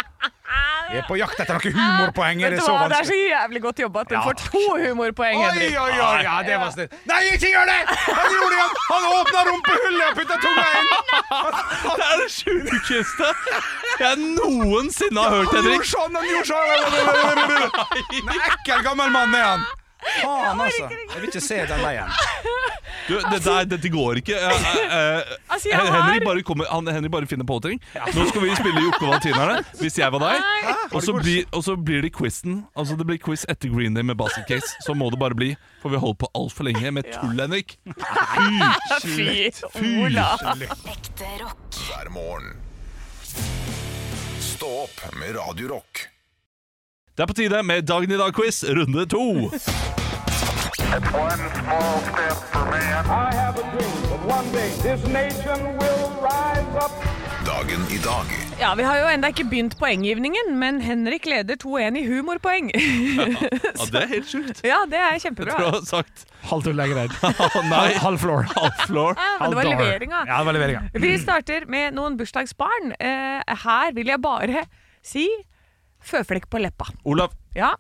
Jeg er på jakt etter noen humorpoeng. Er
Vet
det
du
så
hva, det er så
vanskelig?
jævlig godt jobba at hun
Ja,
får to humorpoeng,
Oi,
Henrik.
oi, oi, ja, det var snilt. Nei, ikke gjør det! Han gjorde det igjen! Han åpna rumpehullet og putta tunga inn.
Det er det sjukeste jeg noensinne har hørt,
Han
Henrik.
gjorde sånn, han gjorde sånn. En ekkel gammel mann er han. Faen, altså. Jeg vil ikke se den veien.
Du, det der, dette går ikke. Eh, eh, eh,
Altså, jeg har-
Henrik, bare kommer, han, Henrik bare finner på ting. Nå skal vi spille Jokke og Valentinerne, hvis jeg var deg. Og så blir, og så blir det quizen. Altså, det blir quiz etter Green Day med Basket Case. Så må det bare bli, for vi holdt på altfor lenge med tull, Henrik.
Fy, Ola.
ekte rock,
hver morgen. Stå opp med Radio Rock.
Det er på tide med Dagen i dag-quiz, runde to.
One small step for man. I have a dream that one day this nation will rise up.
Dagen i dag
Ja, Vi har jo enda ikke begynt poenggivningen, men Henrik leder 2-1 i humorpoeng.
Ja, det er helt sjukt.
ja, det er
Jeg tror
kjempebra.
jeg har sagt
Halv tur lenger ned.
Å, nei,
Halv floor.
half floor.
Ja, men det var
Halv door.
leveringa.
Ja, det var leveringa.
Vi starter med noen bursdagsbarn. Eh, her vil jeg bare si føflekk på leppa.
Olav
Ja.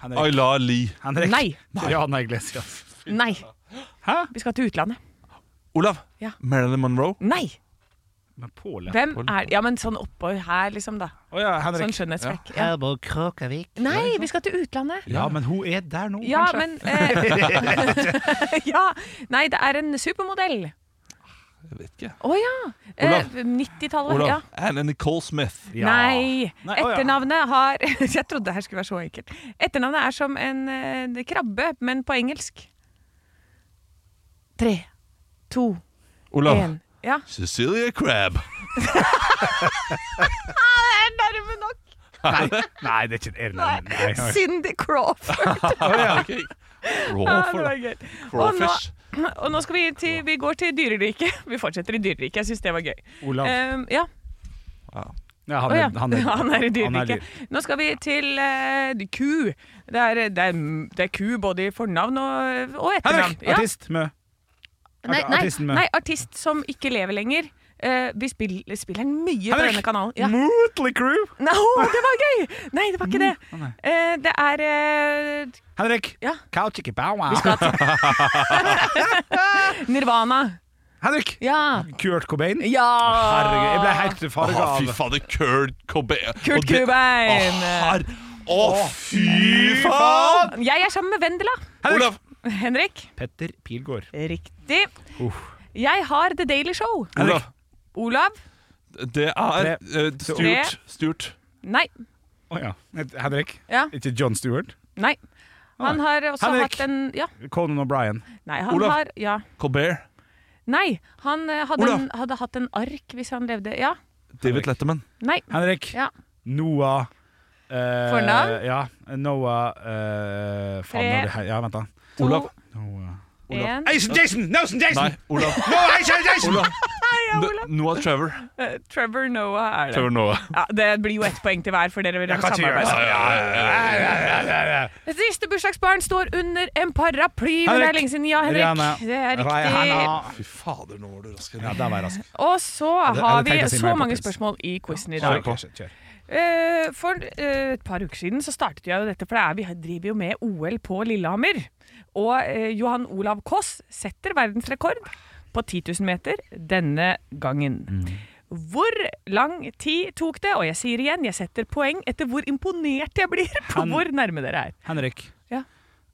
Henrik.
Ayla Lie.
Henrik.
Nei.
Mariana Iglesias.
Nei.
Hæ?
Vi skal til utlandet.
Olav
Ja.
Marilyn Monroe.
Nei.
Men på leppa.
Hvem er Ja, men sånn oppå her, liksom, da.
Å ja,
Sånn
Henrik.
skjønnhetsflekk. Ja.
Herbor Kråkavik.
Nei, vi skal til utlandet.
Ja, men hun er der nå,
Ja,
kanskje.
men eh, Ja. Nei, det er en supermodell.
Jeg vet ikke.
Å ja. Eh,
Olav.
90-tallet. Ja.
Olav Anne Nicole Smith.
Ja.
Nei.
Nei, å ja.
Etternavnet har Jeg trodde det her skulle være så enkelt. Etternavnet er som en eh, krabbe, men på engelsk. Tre, to,
Olav
én. Ja.
Cecilia Crab.
Det er nærme nok!
Nei. Nei, det er ikke det. Nei, nei, nei.
Cindy Crawford.
okay.
Ja,
Crawford,
det
da.
var gøy. Og nå,
Crawfish.
og nå skal vi til Vi går til dyreriket. Vi fortsetter i dyreriket. Jeg syns det var gøy.
Olav.
Eh, ja.
Ja, han,
Å ja.
er, han, er,
i
han er
dyreriket.
dyr.
Nå skal vi til eh, ku. Det er, det, er, det er ku både i fornavn og, og etternavn.
Henrik,
Ja.
artist Mø.
Nei,
Art-
nei,
artisten med.
nei, artist som ikke lever lenger. Eh, vi spiller, spiller den mye på
Henrik!
denne kanalen. Ja.
Mootley Crew.
Nei, å, det var gøy! Nei, det var ikke det.
Å, nei.
Eh, det er eh,
Henrik.
Ja.
Kauchiki Bow Wow.
Nirvana.
Henrik.
Ja.
Kurt Cobain.
ja.
Herregud, jeg ble helt farga
Å, fy
av
fader, Kurt Cobain.
Kurt
Og det-
Cobain. eh.
Å, her- Å, fy faen!
Jeg er sammen med Vendela.
Olav.
Henrik.
Petter Pilgaard.
Riktig. Jeg har The Daily Show.
Olav.
Olav.
Det er eh, styrt. Styrt.
Nei.
Å ja. Henrik.
Ja.
Ikke John Stewart.
Nei. Han har også
Ah. Henrik.
hatt en Ja.
Conan O'Brien.
Nei, han
Olav.
har ja.
Colbert.
Nei, han eh, hadde,
Olav.
en, hadde hatt en ark hvis han levde. Ja.
David Letterman.
Nei.
Henrik.
Ja.
Noah eh,
Fornavn?
Ja. Noah eh, Faen,
Tre.
nå er det her- ja, vent, da.
To,
Olav.
Noah.
En.
Jason Jason! Nelson Jason!
Nei, Olav.
No, Jason Jason!
Olav.
Ja, Olav.
N- Noah Trevor.
Eh, Trevor Noah er det.
Trevor Noah.
Ja, det blir jo ett poeng til hver, for dere vil ha
Jeg kan ikke gjøre
samarbeid.
det.
Det Siste bursdagsbarn står under en paraply. Men det
Henrik.
er lenge siden. Ja,
Rihanna.
Henrik. Det er riktig.
Rihanna.
Fy fader, nå var du raskere.
Ja, der var jeg rask.
Og så
det-
har
jeg tenkte
vi
å si
så
Mary
mange
Poppins.
spørsmål i quizen i
Kjør
dag.
på. Kjør.
Eh, For eh, et par uker siden så startet jeg jo dette, for det er, vi driver jo med OL på Lillehammer. Og eh, Johan Olav Koss setter verdensrekord på 10 000 meter denne gangen.
Mm.
Hvor lang tid tok det? Og jeg sier igjen, jeg setter poeng etter hvor imponert jeg blir på
Han-
hvor nærme dere er.
Henrik.
Ja.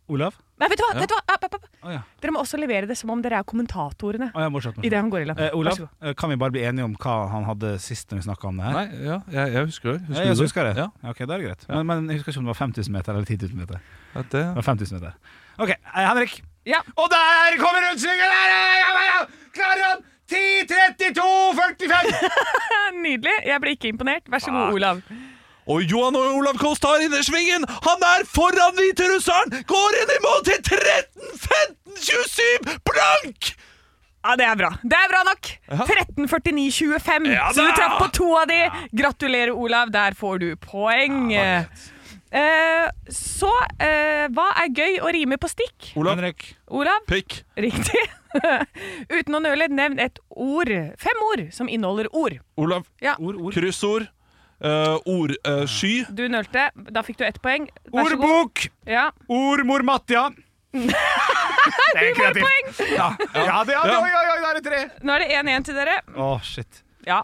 Olav?
Nei, vet du hva! Vet du hva? App, app, app.
Å ja.
Dere må også levere det som om dere er kommentatorene
Å, ja, morsomt.
idet han går i land.
Ah. Eh,
Vær
Olav,
så god.
eh, kan vi bare bli enige om hva han hadde sist når vi snakka om det her?
Nei, ja, jeg, jeg husker det.
Ja,
Husker
jeg
du
også husker det.
Ja,
Ja, ok, da er det greit. Men, men jeg husker ikke om det var 5000 meter eller 10 000 meter. Det
at det.
var 5000 meter. OK, eh, Henrik.
Ja.
Og der kommer rundstykket! Der, der, der, der, der! Klarer han 10, 32, 45!
Ah, Nydelig. Jeg ble ikke imponert. Vær så
Ah.
god, Olav.
Og Johan og Olav Koss tar innersvingen! Han er foran hviterusseren! Går inn i mål til 13-15-27 blank!
Ja, Ah, det er bra. Det er bra nok! 13.49,25.
Ja
så
da!
du traff på to av de. Gratulerer, Olav. Der får du poeng. Eh, så eh, hva er gøy å rime på stikk?
Olav.
Henrik.
Olav?
Pikk.
Riktig. Uten å nøle, nevn et ord. Fem ord som inneholder ord.
Olav.
Ja.
Ord, ord.
Kryssord. eh, Ordsky.
Du nølte. Da fikk du ett poeng. Vær så god.
Ordbok!
Ja.
Ordmor Matja. Det er kreativt. Ja, ja, det, ja, det, oi, oi, oi, der er tre.
Nå er det 1-1 til dere.
Å, shit.
Ja.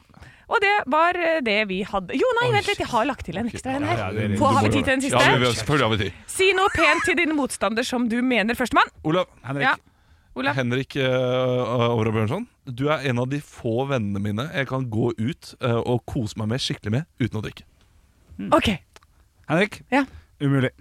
Og det var eh, det vi hadde. Jo, nei, vent litt. Jeg har lagt til en ekstra en her.
Ja, det er
Få, har vi tid til en
Ja, vi,
siste?
vi, selvfølgelig har vi tid.
Si noe pent til din motstander som du mener førstemann.
Olav.
Henrik.
Ja. Olav.
Henrik eh, Åre Bjørnson, du er en av de få vennene mine jeg kan gå ut eh, og kose meg med skikkelig med uten å drikke.
OK.
Henrik.
Ja.
Umulig.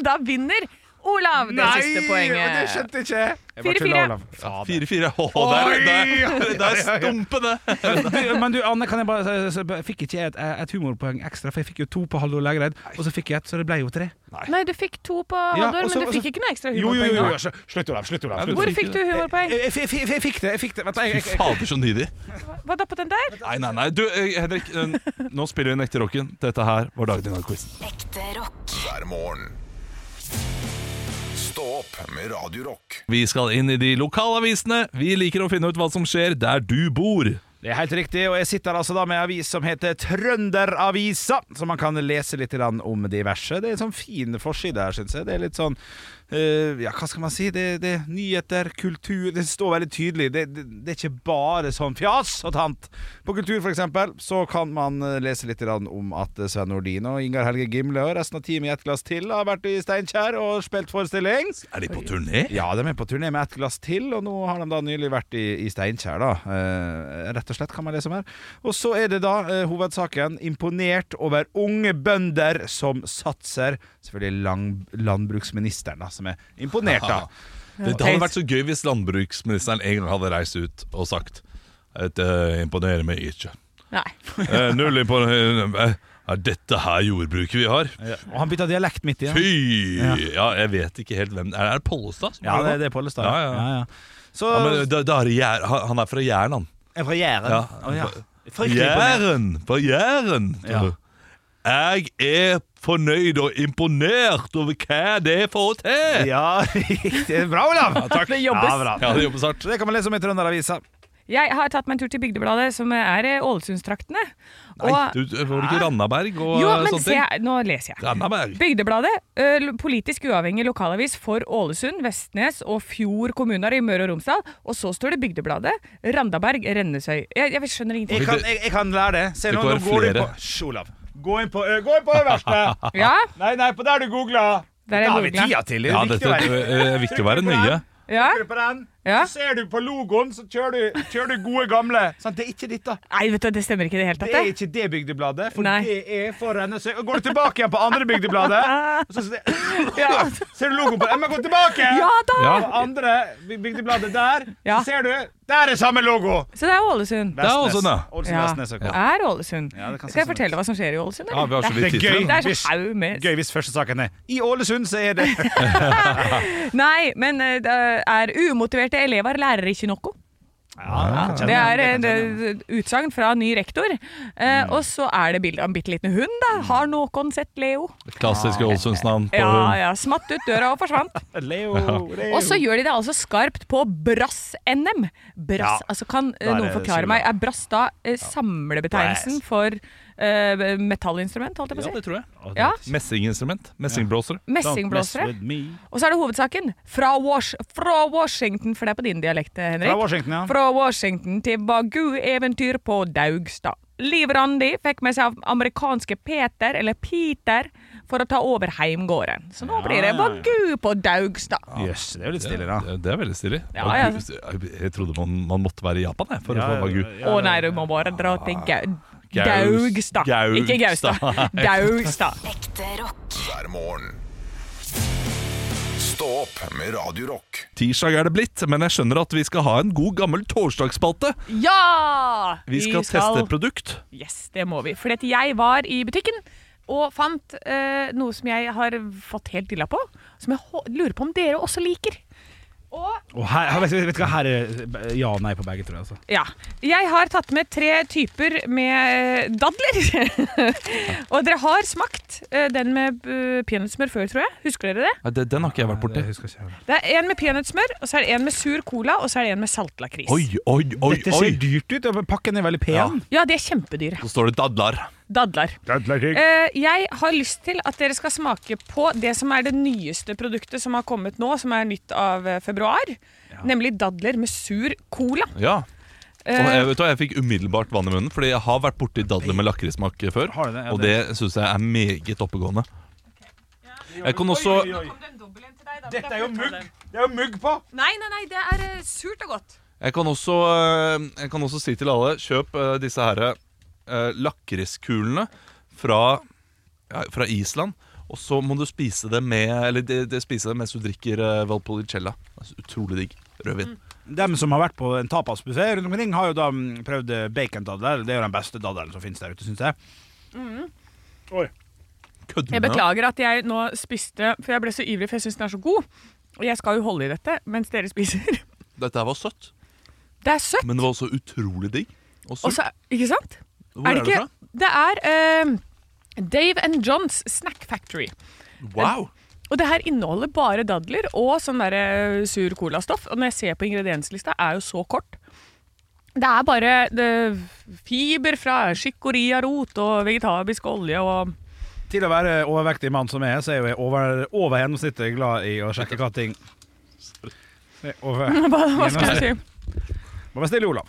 Da vinner Olav det siste
det
poenget.
skjønte jeg ikke.
Fire,
tuller,
fire.
Olav. Fader.
4-4. Åh,
Oi!
der, der, der stumper det!
Du, men du, Anne, kan jeg bare så- så- så- Fikk ikke jeg et, et humorpoeng ekstra? For jeg fikk jo to på Hallo Lægreid, og så fikk jeg ett, så det ble jo tre.
Nei, du fikk to på
Ja,
Haldor,
og så-
men du
og så-
fikk ikke noe ekstra
Jo, jo, jo, Eh,
humorpoeng.
jo. Slutt, Olav. Slutt, Olav.
Ja,
Slutt.
Hvor fikk du humorpoeng?
Jeg, jeg, jeg, jeg fikk det. jeg fikk det Vent, da,
Fy
jeg, jeg, jeg,
fader, så nidig.
eh.
Hva da på den der?
Nei, nei, nei. Du, eh, Henrik, eh, nå spiller vi den ekte rocken. Dette her var Dagen i dag-quizen.
Ekte rock.
hver morgen. Stå opp med Radio Rock.
Vi skal inn i de lokalavisene. Vi liker å finne ut hva som skjer der du bor.
Det er helt riktig, og jeg sitter altså da med en avis som heter Trønderavisa, så man kan lese litt grann om diverse. Det er en sånn fin forside her, syns jeg. Det er litt sånn eh, Ja, hva skal man si? Det, det er nyheter, kultur Det står veldig tydelig. Det, det, det er ikke bare sånn fjas og tant. På kultur, for eksempel, så kan man eh, lese litt grann om at eh, Sven Nordin og Ingar Helge Gimle og resten av teamet i Ett glass til har vært i Steinkjer og spilt forestilling.
Er de på turné?
Ja, de er på turné med ett glass til, og nå har de da nylig vært i, i Steinkjer, da. Eh, rett og slett, kan man lese om her. Og så er det da eh, hovedsaken 'Imponert over unge bønder som satser'. Selvfølgelig lang, landbruksministeren, da, som er imponert, da.
Det, det hadde vært så gøy hvis landbruksministeren en gang hadde reist ut og sagt Dette imponerer meg ikke.
Nei.
Eh, Null imponerer eh, Er dette her jordbruket vi har?
Og han bytta dialekt midt i. Ja.
Fy! Ja, jeg vet ikke helt hvem Er det Pollestad? som
Ja,
gjør
det, det er Pollestad.
Ja, ja.
Så
Ja, men da, da er det Jær, han han er fra Jæren, han.
Jeg er fra Jæren.
Ja.
Å, ja. Fryktelig imponert.
Jæren! Fra Jæren!
Ja.
Jeg er fornøyd og imponert over hva det får til!
Ja, riktig. Bra, Olav! takk.
Det jobbes.
Ja, bra.
Ja, det jobber snart.
Så det kan man lese om i Trønderavisa.
Jeg har tatt meg en tur til Bygdebladet, som er eh, Ålesundstraktene.
Nei,
Og-
du, var det ikke Randaberg og
Jo, men
sånne
se,
ting?
her, nå leser jeg.
Randaberg.
Bygdebladet, ø, lo- politisk uavhengig lokalavis for Ålesund, Vestnes og Fjord kommuner i Møre og Romsdal. Og så står det Bygdebladet, Randaberg, Rennesøy. Jeg, jeg skjønner
Jeg
ingenting.
kan, jeg, jeg kan lære det. Se
Det
nå,
kan
nå
være
går du
flere.
på Hysj, Olav. Gå inn på, ø, gå inn på øverste.
Ja,
Nei, nei, på der du googla.
Der jeg
da har vi
googlet.
tida til. Det er
Ja,
viktig
dette
å være-
eh, er viktig å være nøye.
ja.
Trykker du på den,
Ja.
så ser du på logoen, så kjører du, kjører du gode gamle. Sant, det er ikke ditt, da.
Nei, vet du, det stemmer ikke i det hele
Det er
tatt. det.
ikke det bygdebladet, for
Nei.
det er for Rennesøy. Og går du tilbake igjen på andre bygdebladet, så ser,
Ja.
ser du logoen på den. Men gå tilbake!
Ja da!
Ja.
På andre byg- bygdebladet der,
Ja.
så ser du Der er samme logo!
Så det er Ålesund.
er Ålesund, ja.
Ålesund,
Ja.
Vestnes, ok.
Er Ålesund.
Ja, det kan
Skal jeg
se sånn ut.
fortelle hva som skjer i Ålesund?
Ja, vi har så
eller?
vidt tid
Det er
til
gøy.
det.
Det er
Hvis-
så haug med
Gøy hvis første saken er I Ålesund så er det
Nei, men eh, det er umotiverte elever lærer ikke noe.
Ja,
Det er eh, et et utsagn fra ny rektor. Eh, Og så er det bilde av en bitte liten hund. da. Har noen sett Leo?
Klassiske Ålesundsnavn på
Ja,
hund.
ja. Smatt ut døra og forsvant.
Leo,
Og så gjør de det altså skarpt på Brass-NM. Brass,
Ja.
altså Kan eh,
Da er
noen
det
forklare
sola.
meg, er brass da eh, samlebetegnelsen for eh, metallinstrument, holdt jeg
Ja,
på å
det
si?
tror jeg.
Ja.
Messinginstrument. Messingblåsere.
Messingblåsere. Og så er det hovedsaken. Fra, Wash fra Washington, for det er på din dialekt, Henrik.
Fra Washington, ja.
Fra Washington til Bagu-eventyr på Daugstad. Liv Randi fikk med seg amerikanske Peter, eller Peter, for å ta over heimgården. Så nå blir det
ja, ja.
Bagu på Daugstad.
Jøss, det er jo litt stille, da.
Det, det er veldig stilig.
Ja, ja.
Jeg, jeg trodde man, man måtte være i Japan jeg, for
Ja,
å få Bagu.
Å nei, du må bare dra til Gau...
Gaus-
Daugstad.
Gaustad.
Ikke Gaustad. Daugstad.
Ekte rock.
hver morgen. Stå opp med Radio Rock.
Tirsdag er det blitt, men jeg skjønner at vi skal ha en god gammel torsdagsspalte.
Ja!
Vi skal, teste et produkt.
Yes, det må vi. Fordi at jeg var i butikken og fant eh, noe som jeg har fått helt dilla på. Som jeg hå- lurer på om dere også liker. Og
Og her, her- vet, vet du hva, her er eh, ja og nei på begge, tror jeg. Altså.
ja. Jeg har tatt med tre typer med dadler. og dere har smakt eh, den med eh, peanøttsmør før, tror jeg. Husker dere det?
Nei, det- Den har ikke jeg vært borti.
Jeg husker ikke heller.
Det er en med peanøttsmør, og så er det en med sur cola, og så er det en med saltlakris.
Oi, oi, oi,
Dette
oi!
ser dyrt ut, og pakken er veldig pen.
Ja.
Ja, de er kjempedyre.
Så står det dadlar.
Dadler. Eh, jeg har lyst til at dere skal smake på det som er det nyeste produktet som har kommet nå, som er nytt av eh, februar. Nemlig dadler med sur cola.
Ja. Og
Eh,
jeg, vet du, hva, jeg fikk umiddelbart vann i munnen, fordi jeg har vært borti dadler med lakrissmak før.
Har du det? Ja,
Og det
det-
syns jeg er meget oppegående. Jeg kan også
Eh,
Dette er jo mugg! Det er jo mugg på!
Nei, nei, nei, det er eh, surt og godt.
Jeg kan også, eh, jeg kan også si til alle Kjøp eh, disse her eh, lakriskulene fra, ja, fra Island Og så må du spise det med Eller det, det spise det mens du drikker eh, Valpolicella altså, Utrolig digg
Mm.
rødvin
Dem som har vært på en tapasbuffé rundt omkring, har jo da mm, prøvd eh, bacondadler. Det er jo den beste dadelen som finnes der ute, syns jeg.
Kødder
Jeg
du med meg?
beklager at jeg nå spiste, for jeg ble så ivrig, for jeg syns den er så god. Og jeg skal jo holde i dette mens dere spiser.
Dette her var søtt
Det er søtt.
Men det var også utrolig digg Og
Og
surt
så, ikke sant?
Hvor er,
er det
det
ikke-
fra?
Det er eh, Dave and Johns Snack Factory.
Wow
Og det her inneholder bare dadler og sånn der eh, sur colastoff. Og når jeg ser på ingredienslista, er jo så kort. Det er bare det, fiber fra chicoria-rot og vegetarisk olje og
Til å være overvektig mann som jeg er, så er jo jeg over, over gjennomsnittet glad i å sjekke hva ting Det er over.
Hva, hva skal jeg si?
Må være snill, Olav.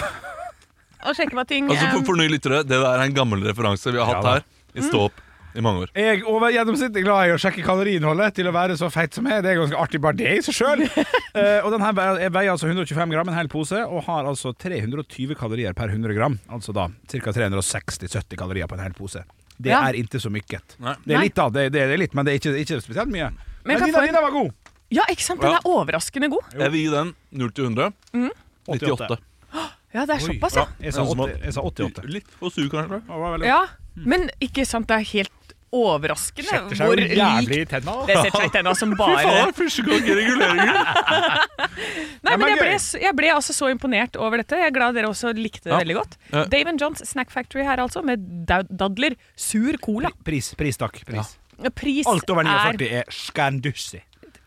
Å sjekke hva ting
Altså
eh,
for, for nye lyttere Det der er en gammel referanse vi har hatt
Ja da.
her
Mm.
I stå opp i mange år
Jeg er over gjennomsnittet glad i å sjekke kaloriinnholdet til å være så feit som jeg. er. Det er ganske artig bare det i seg sjøl. og den her veier- jeg veier altså 125 gram, en hel pose, og har altså 320 kalorier per 100 gram. Altså da ca. 360-70 kalorier på en hel pose. Det
Ja.
er ikke så mykket.
Nei.
Det
Nei.
er litt, da. Det, det, det er litt, men det er ikke, ikke spesielt mye. Men,
kan
dina,
få en-
dina var god.
Ja, ikke sant? Den
Ja.
er overraskende god.
Jeg vil gi den 0 til 100 98
Ja, det er såpass, ja.
Ja,
Det er
jeg, sa
Sånn som
80, jeg sa 88.
Litt for sur kanskje
Det var veldig-
ja. Men ikke sant, det er helt overraskende
Setter seg
hvor
jo jævlig
lik
i tenna. da.
Det setter seg i tenna som bare
første gang i reguleringen
Nei,
Ja,
men
men
jeg ble,
gøy.
s- jeg ble altså så imponert over dette. Jeg er glad dere også likte det
Ja.
veldig godt.
Ja.
Dave Johns Snack Factory her altså, med da- dadler, sur cola.
Pris, pris, takk. Pris.
Pris
Alt over
er
49 er skandussi.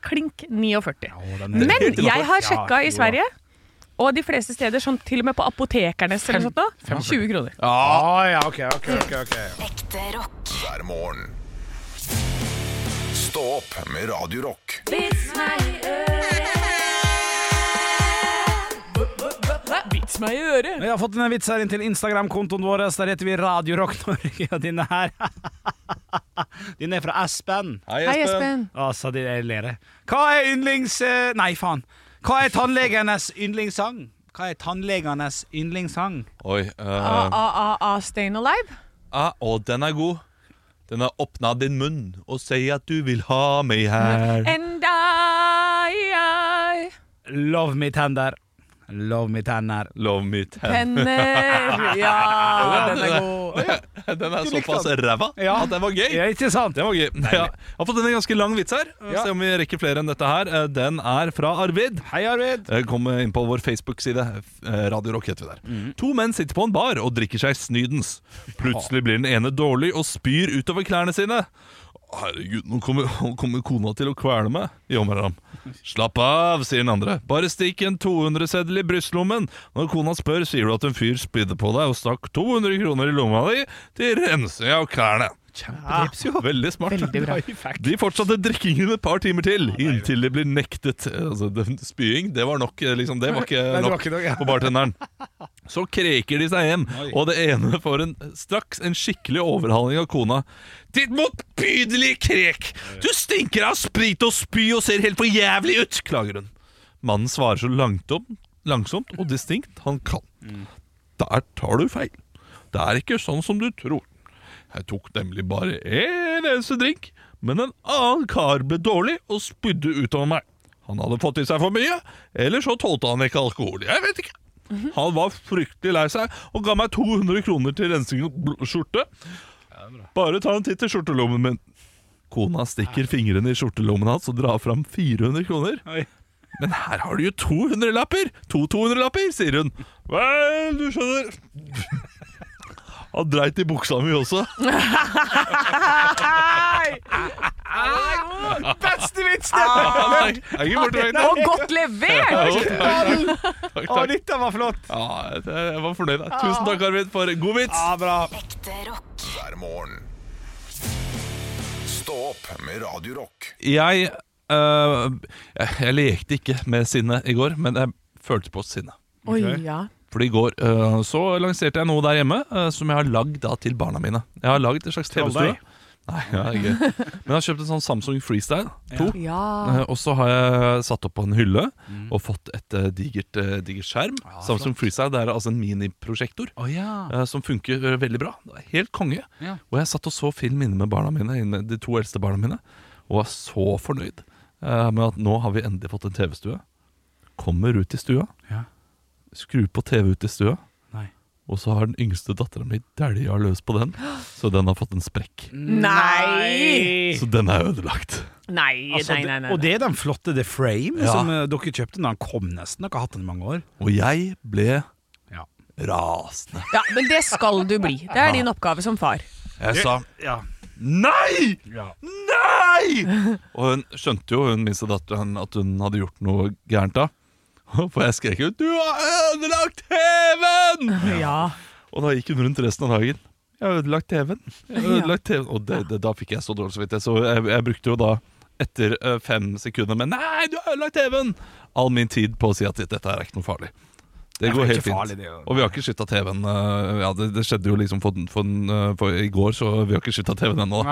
klink 49.
Men
Men jeg har
Ja,
sjekka
jo
i
da.
Sverige, og de fleste steder, sånn til og med på apotekernes eller noe sånt, nå, 20 kroner.
Ah, ja, ok, ok, ok, ok.
Ekte rock.
hver morgen. Stå opp med Radio Rock.
Vits meg i øret.
Jeg har fått en vits her inn til Instagram-kontoen vår. Der heter vi Radio Rock Norge. Og denne her Den er fra Aspen.
Hei, Espen.
Altså, de jeg ler. jeg. Hva er yndlings... eh, Nei, faen. Hva er tannlegenes yndlingssang? Hva er tannlegenes yndlingssang?
Oi
Ah.
eh,
AAA Stayin' Alive.
Ja, og den er god. Den har åpna din munn og sier at du vil ha meg her.
And I, I
Love me tender. Love me tenner.
Love me ten.
Penner. Ja, den er god.
Den er såpass ræva
Ja.
at den var gøy.
Ja, ikke sant?
Det var gøy. Ja. Jeg har fått en ganske lang vits her.
Ja.
Se om vi rekker flere enn dette her. Eh, Den er fra Arvid.
Hei, Arvid.
Eh, Kom inn på vår Facebook-side. eh, Radio Rock heter vi der. To menn sitter på en bar og drikker seg snydens. Plutselig blir den ene dårlig og spyr utover klærne sine. Herregud, nå kommer, nå kommer kona til å kvele meg, jommer han. Slapp av, sier den andre. Bare stikk en 200-seddel i brystlommen. Når kona spør, sier du at en fyr spydde på deg og stakk 200 kroner i lomma di til rensing av klærne. Kjempetips, jo. Veldig smart.
Veldig bra.
De fortsatte drikkingen et par timer til, inntil de ble nektet altså, den Spying, det var nok, eh, liksom. Det var ikke
Nei, det var
nok
ikke nok, ja.
på bartenderen. Så kreker de seg hjem, og det ene får en, straks en skikkelig overhaling av kona. Ditt motbydelige krek! Du stinker av sprit og spy og ser helt for jævlig ut! klager hun. Mannen svarer så langt om, langsomt og distinkt han kan.
Mm.
Der tar du feil. Det er ikke sånn som du tror. Jeg tok nemlig bare én eneste drink, men en annen kar ble dårlig og spydde utover meg. Han hadde fått i seg for mye, eller så tålte han ikke alkohol. Jeg vet ikke. Han var fryktelig lei seg og ga meg 200 kroner til rensing av bl- skjorte. Bare ta en titt i skjortelommen min. Kona stikker fingrene i skjortelommen hans og drar fram 400 kroner.
Oi.
Men her har du jo 200 lapper! To 200 lapper, sier hun. Vel, du skjønner Han dreit i buksa mi også.
Beste vits! det.
Ah,
Nei, jeg er ikke borte veien.
Og godt levert!
Takk,
Å,
takk.
dette var flott!
Ja, jeg var fornøyd. Tusen takk, Arvid, for god vits.
Ja, bra.
Ekte rock.
hver morgen. Stå opp med Radio Rock.
Jeg, øh, jeg Jeg lekte ikke med sinne i går, men jeg følte på sinne.
Oi, ja.
For i går øh, så lanserte jeg noe der hjemme øh, som jeg har lagd da til barna mine. Jeg har lagd en slags TV-stue.
Trolldeig.
Nei, ja, ikke. Men jeg har kjøpt en sånn Samsung Freestyle 2.
ja.
øh, Og så har jeg satt opp på en hylle og fått et øh, digert, øh, digert skjerm. Samsung Freestyle det er altså en miniprosjektor
Å ja.
eh, som funker eh, veldig bra. Det var Helt konge.
Ja.
Og jeg satt og så film inne med barna mine, inne, de to eldste barna mine, og var så fornøyd eh, med at nå har vi endelig fått en TV-stue. Kommer ut i stua,
Ja.
skrur på TV ut i stua,
Nei.
og så har den yngste dattera mi dælja løs på den, så den har fått en sprekk.
Mm. Nei!
Så den er ødelagt.
Nei,
Altså,
nei, nei. nei.
Og det er den flotte The Frame
Ja.
som eh, dere kjøpte da han kom nesten. Dere har hatt den i mange år.
Og jeg ble
Ja.
rasende.
Ja, men det skal du bli. Det er din oppgave som far.
Jeg sa
Ja.
nei!
Ja.
Nei! Og hun skjønte jo hun minste datteren at hun hadde gjort noe gærent da. For jeg skrek ut 'Du har ødelagt TV-en!'
Ja.
Og da gikk hun rundt resten av dagen. 'Jeg har ødelagt TV-en.' Jeg har ødelagt TV-en. Og det, det, da fikk jeg så dårlig samvittighet, så jeg, jeg brukte jo da etter eh, fem sekunder med 'Nei, du har ødelagt TV-en!' all min tid på å si at dette her er ikke noe farlig. Det
Ja,
går
for det er
helt
ikke
fint.
farlig, det er jo-
og vi har ikke skifta TV-en. eh, ja, det, det skjedde jo liksom for, for, for i går, så vi har ikke skifta TV-en ennå.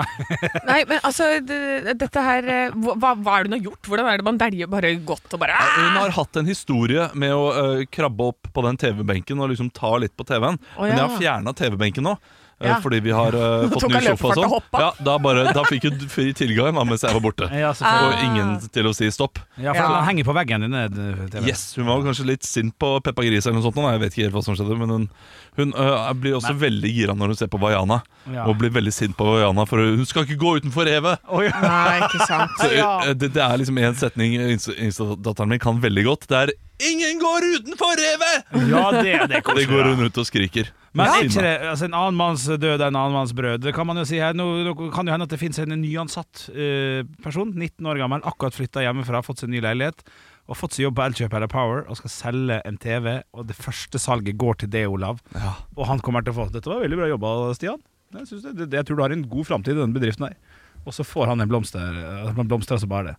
Nei, men altså, det, dette her eh, hva, hva- hva er det hun har gjort? Hvordan er det man deljer bare godt og bare
Hun har hatt en historie med å ø, krabbe opp på den TV-benken og liksom ta litt på TV-en.
Å,
Men jeg
ja.
har fjerna TV-benken nå. ø,
Ja.
Fordi vi har ø, fått
tok
ny sofa og
han løpefart og
sånn.
hoppa.
Ja, da, bare, da fikk hun fri tilgang da, mens jeg var borte.
Ja,
selvfølgelig.
Og ingen til å si stopp.
Ja, for
Ja.
den henger på veggen din. eh, TV.
Yes, Hun var kanskje litt sint på Peppa Gris, eller noe sånt. nå, Nei, jeg vet ikke helt hva som skjedde Men hun, hun ø, blir også veldig gira når hun ser på Vaiana.
Ja.
Og blir veldig sint på Vaiana, for hun skal ikke gå utenfor revet!
Å, ja.
Nei, ikke sant.
Så, ø, det, det er liksom én setning yngste- yngste datteren min kan veldig godt. Det er 'Ingen går utenfor revet!'
ja, det, det
Og
kommer
det går hun ut og skriker.
Men er
Sinna.
ikke det, altså En annen manns død er en annen manns brød. Det kan man jo si her. Nå, nå kan det jo hende at det finnes en nyansatt eh, person, 19 år gammel, akkurat flytta hjemmefra, fått seg ny leilighet og fått seg jobb på Elkjøp eller Power og skal selge en TV, og det første salget går til det, Olav. Og han kommer til å få Dette var veldig bra jobba, Stian. Jeg, synes det, det, jeg tror du har en god framtid i denne bedriften her. Og så får han en blomster, eh, han blomstrer så bare det.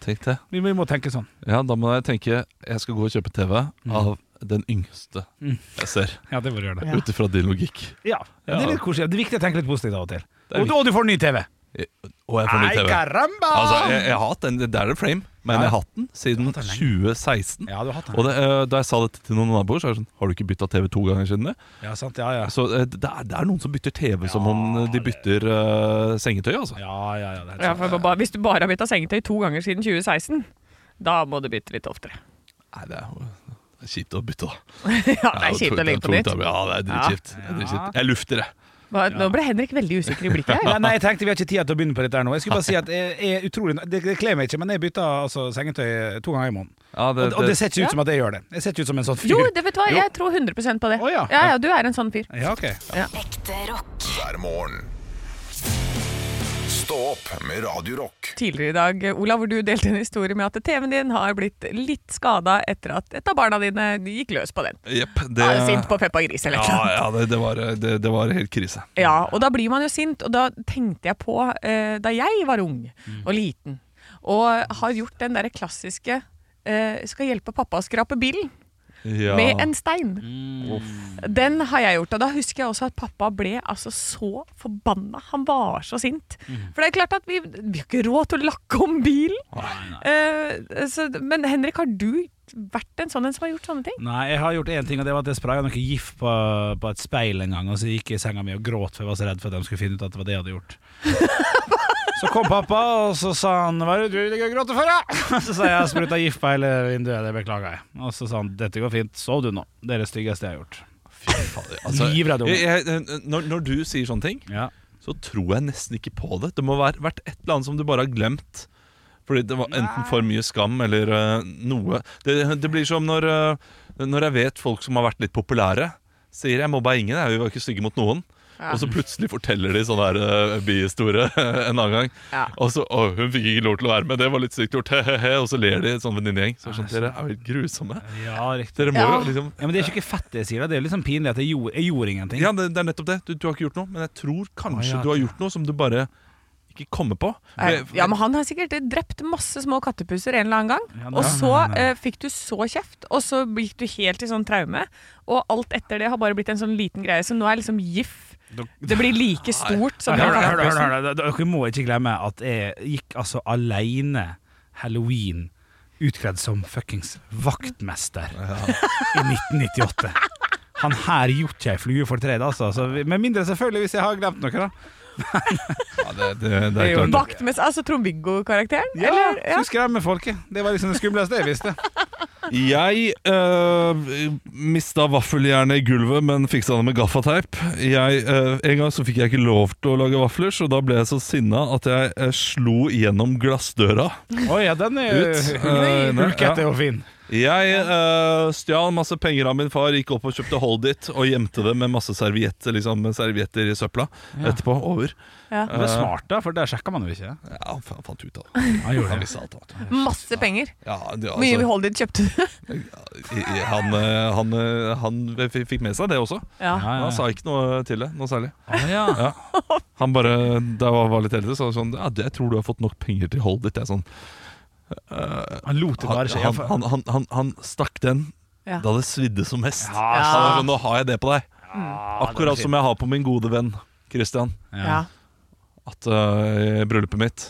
Tenk det.
Vi, vi må tenke sånn.
Ja, da må jeg tenke jeg skal gå og kjøpe TV av den yngste jeg ser.
Ja, det må du gjøre det.
Ut ifra din logikk.
Ja, Det er litt koselig. Det er viktig å tenke litt positivt av og til.
er
Og, du- og du får ny TV!
Og jeg får ny TV.
caramba!
Altså, jeg, jeg har hatt den, Det er det frame, men jeg har hatt den siden 2016.
ja, du har hatt den.
Og det, eh, Da jeg sa dette til noen naboer, så er det sånn Har du ikke bytta TV to ganger siden det?
Ja, sant, ja, ja.
Så eh, det er, det er noen som bytter TV som om de bytter eh, sengetøy, altså.
Ja, ja, ja, det er helt
Ja,
sant.
for bare, hvis du bare har bytta sengetøy to ganger siden 2016, da må du bytte litt oftere.
Nei, det er jo det er kjipt å bytte, da.
Ja, det er
jo
kjipt
tungt-
å legge på
tungt
nytt.
å- Ja, det er dritkjipt. Det er dritkjipt. Jeg lufter, jeg.
Hva- Nå ble Henrik veldig usikker i blikket her.
Nei, nei, jeg tenkte vi har ikke tid til å begynne på dette her nå. Jeg skulle bare si at jeg, jeg er utrolig Det, det kler meg ikke, men jeg bytter altså, sengetøy to ganger i måneden.
Ja, det,
Og, og det
det-
ser ikke ut som at jeg gjør det. Jeg ser ikke ut som en sånn fyr.
Jo, det vet du hva, jeg tror 100 på det.
Å, ja.
ja, ja, du er en sånn fyr.
Ja, ok.
Ekte rock.
hver morgen. Stå opp med Radio Rock.
Tidligere i dag, Olav, hvor du delte en historie med at TV-en din har blitt litt skada etter at et av barna dine gikk løs på den.
Jepp. Det,
Da Ah, er du sint på liksom. Peppa Gris eller noe.
Ja, ja det, det, var, det, det var helt krise.
Ja, og da blir man jo sint, og da tenkte jeg på eh, da jeg var ung
Mm.
og liten, og har gjort den derre klassiske eh, skal hjelpe pappa å skrape bilen
Ja.
med en stein.
Mm.
Den har jeg gjort, og da husker jeg også at pappa ble altså så forbanna. Han var så sint.
Mm.
For det er klart at vi, vi har ikke råd til å lakke om bilen. Eh, så, men Henrik, har du vært en sånn en som har gjort sånne ting?
Nei, jeg har gjort én ting, og det var at jeg spraya noe gift på, på et speil en gang, og så gikk jeg i senga mi og gråt, for jeg var så redd for at de skulle finne ut at det var det jeg hadde gjort. Så kom pappa, og så sa han 'Hva er det du ligger og gråter for?' da?» Så sa jeg 'Jeg spruta gift på hele vinduet, det beklager jeg'. Og så sa han 'Dette går fint, sov du nå'. Det er det styggeste jeg har gjort.
Altså,
Livredd unge.
jeg, jeg, når, når du sier sånne ting,
Ja.
så tror jeg nesten ikke på det. Det må være, vært et eller annet som du bare har glemt. Fordi det var enten for mye skam eller eh, noe. Det, det blir som når, eh, når jeg vet folk som har vært litt populære, sier 'jeg mobba ingen', jeg, vi var ikke stygge mot noen.
Ja.
Og så plutselig forteller de sånn her eh, bihistorie en annen gang.
Ja.
Og så 'Å, hun fikk ikke lov til å være med, det var litt sykt gjort', he-he-he. Og så ler de, sånn venninnegjeng. Så er det sånn, dere er jo helt grusomme.
Ja, riktig.
Dere må
Ja.
jo liksom
Ja, men det er jo ikke fett det jeg sier, da. det er jo liksom pinlig at jeg gjorde, jeg gjorde ingenting.
Ja, det, det er nettopp det. Du, du har ikke gjort noe. Men jeg tror kanskje
Å, ja,
du har gjort noe som du bare ikke kommer på.
Nei,
For-
Eh, Ja, men Han har sikkert drept masse små kattepusser en eller annen gang.
Ja, nei,
og så
nei, nei, nei.
eh, fikk du så kjeft, og så gikk du helt i sånn traume. Og alt etter det har bare blitt en sånn liten greie som nå er liksom gif. Det blir like stort som
Hør,
den
da, hør, da, hør, da,
kattepussen.
hør, da. Dere må ikke glemme at jeg gikk altså alene halloween utkledd som fuckings vaktmester i 1998. Han her gjorde ikke ei flue fortred, altså. Så, vi- med mindre selvfølgelig hvis jeg har glemt noe, da.
ja, det, det, det
Det er
er
jo
klart.
Vakt med altså Trond-Viggo-karakteren?
Ja,
eller?
så skremmer folket. Det var liksom det skumleste jeg visste.
Jeg øh, mista vaffeljernet i gulvet, men fiksa det med gaffateip. Jeg, øh, en gang så fikk jeg ikke lov til å lage vafler, så da ble jeg så sinna at jeg øh, slo gjennom glassdøra
Å ja, den er
ut. Øh, nei,
Hulkete
ja.
og fin.
Jeg øh, stjal masse penger av min far, gikk opp og kjøpte Hold It og gjemte det med masse servietter, liksom, med servietter i søpla etterpå. Over.
Ja.
Det er smart, da, for der sjekker man jo ikke.
Ja, han fa- fant ut av det.
Han gjorde
Han
det.
visste alt. alt.
Masse penger.
Ja, det,
Hvor mye
altså,
hold ditt kjøpte du?
i- i- han, øh, han, øh, han f- fikk med seg det også.
Ja.
Han sa ikke noe til det, noe særlig.
Å, ja.
Ja. Han bare, da jeg var litt eldre, sa han sånn Ja, det tror du har fått nok penger til hold ditt. Jeg er sånn
Han lot det
han,
bare skje.
han, han, han, han, han stakk den
Ja.
da det svidde som mest.
Ja,
Han var
Ja.
sånn, Nå har jeg det på deg. Akkurat som jeg har på min gode venn Christian.
Ja.
At øh, i bryllupet mitt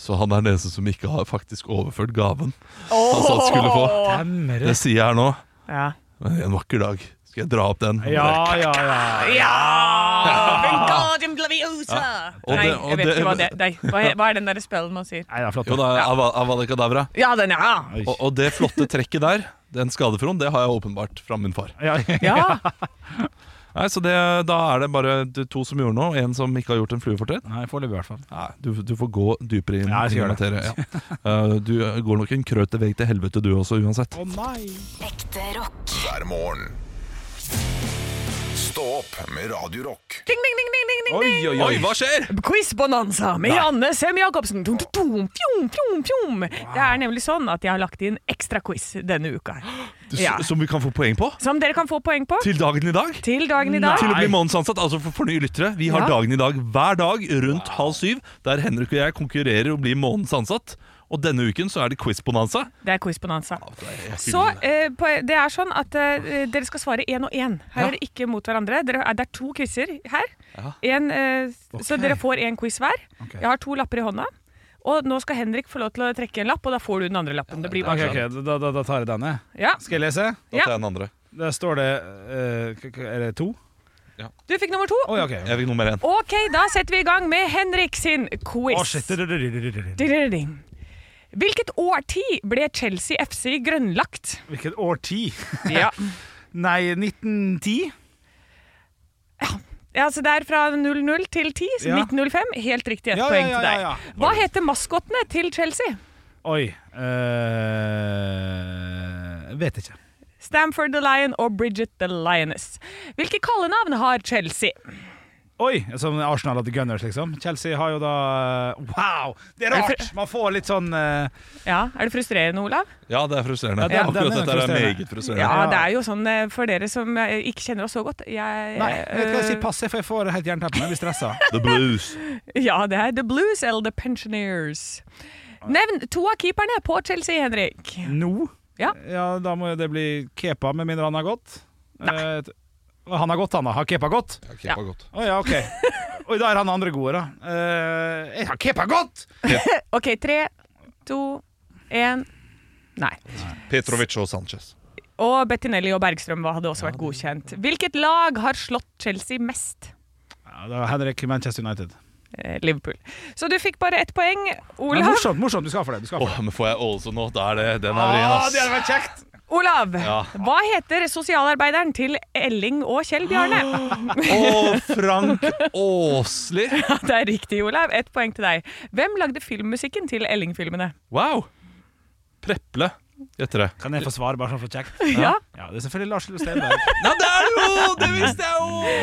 Så han er den eneste som ikke har faktisk overført gaven han sa han skulle få.
Stemmer
Det
det.
sier jeg her nå.
Ja.
Men en vakker dag skal jeg dra opp den.
Ja, ja, ja.
Wingardium Glaviosa!
Og
Nei,
det- og
jeg vet
det-
ikke hva det nei, Hva er, hva er den der spellen man sier?
Nei, det er flott.
Jo da, Ava- Avadekadabra.
Ja, den, ja!
Og, og det flotte trekket der, den skadefroen, det har jeg åpenbart fra min far.
Ja,
Ja,
Nei, så det, Da er det bare de to som gjorde noe, en som ikke har gjort en fluefortrett.
Nei, foreløpig i hvert fall.
Nei, du, du får gå dypere inn
Ja, jeg skal
i materie. Ja. Eh, du går nok en krøt vei til helvete du også, uansett.
Ekte rock.
hver morgen. Stå opp med Radio Rock.
ding, ding, ding, ding, ding, ding.
Oi, oi, oi.
hva skjer?!
Quiz-bonanza med Janne Sem-Jacobsen. Tum, tum, tum, fjom, fjom, fjom. Det er nemlig sånn at jeg har lagt inn ekstra quiz denne uka. her. Ja.
Som vi kan få poeng på?
Som dere kan få poeng på
Til dagen i dag?
til dagen i dag.
Til å bli månedsansatt, altså for, for nye lyttere. Vi har
Ja.
dagen i dag hver dag rundt halv syv, der Henrik og jeg konkurrerer og blir månedens ansatt. Og denne uken så er det quiz-bonanza.
Det er quiz-bonanza. Så eh, på, det er sånn at eh, dere skal svare én og én. Her er det ikke mot hverandre. Dere, er- det er to quizer her. En, eh, Så dere får én quiz hver. Jeg har to lapper i hånda. Og nå skal Henrik få lov til å trekke en lapp, og da får du den andre lappen. det blir
Ok,
bare
ok,
sånn.
da, da, da tar jeg denne.
Ja.
Skal jeg lese?
Da tar jeg den andre.
Der står det eh, k- k- Er det to?
Du fikk nummer to.
Å ja, OK.
Jeg fikk nummer én.
Ok, da setter vi i gang med Henrik sin quiz.
Å, shit. Hvilket
Ding-ding-ding. Hvilket årti ble Chelsea FC grønnlagt?
årti?
Ja.
Nei, 1910?
så Det er fra 00 til 10. så
Ja.
1905. Helt riktig ett
Ja, ja,
poeng
ja,
til deg.
ja, ja.
Hva heter maskottene til Chelsea?
Oi. eh, vet ikke.
Stamford the Lion og Bridget the Lioness. Hvilke kallenavn har Chelsea?
Oi! Som Arsenal hadde Gunners, liksom. Chelsea har jo da eh, Wow! Det er rart! Man får litt sånn eh,
Ja, Er det frustrerende, Olav?
Ja, det er frustrerende.
Ja, den- den
Akkurat
er
dette er
frustrerende.
meget frustrerende.
Ja, det er jo sånn eh, for dere som eh, ikke kjenner oss så godt. Jeg,
Nei, jeg vet ikke hva jeg sier.
øh,
Pass, for jeg får helt jernteppe når jeg blir stressa.
The Blues.
Ja, det er The Blues eller The Pensioners. Nevn to av keeperne på Chelsea, Henrik.
Nå?
Ja.
Da må jo det bli Kepa, med mindre han har gått. Eh, t- han har gått, han da. Har Kepa gått?
Ja.
Å ja, ok. Oi, da er han andre gode, da. Eh, jeg har Kepa godt!
OK, tre, to, én Nei.
Petrovic og Sanchez.
Og Bettinelli og Bergstrøm hadde også vært godkjent. Hvilket lag har slått Chelsea mest?
Ja, da er Henrik Manchester United.
Eh, Liverpool. Så du fikk bare ett poeng.
Men
Olav,
morsomt, morsomt. Du skal få det. Du skal
Åh,
få det.
men får jeg Ålesund nå? Da er det, den er vrien,
Ah,
ass.
det hadde vært kjekt!
Olav, hva heter sosialarbeideren til Elling og Kjell Bjarne?
Og Frank Åsli!
Det er riktig, Olav. Ett poeng til deg. Hvem lagde filmmusikken til Elling-filmene?
Wow! Preple heter det.
Kan jeg få svare, bare sånn for kjekt?
Ja.
Ja, det er selvfølgelig Lars Lillo Stenberg.
Ja, det er det jo! Det visste jeg jo!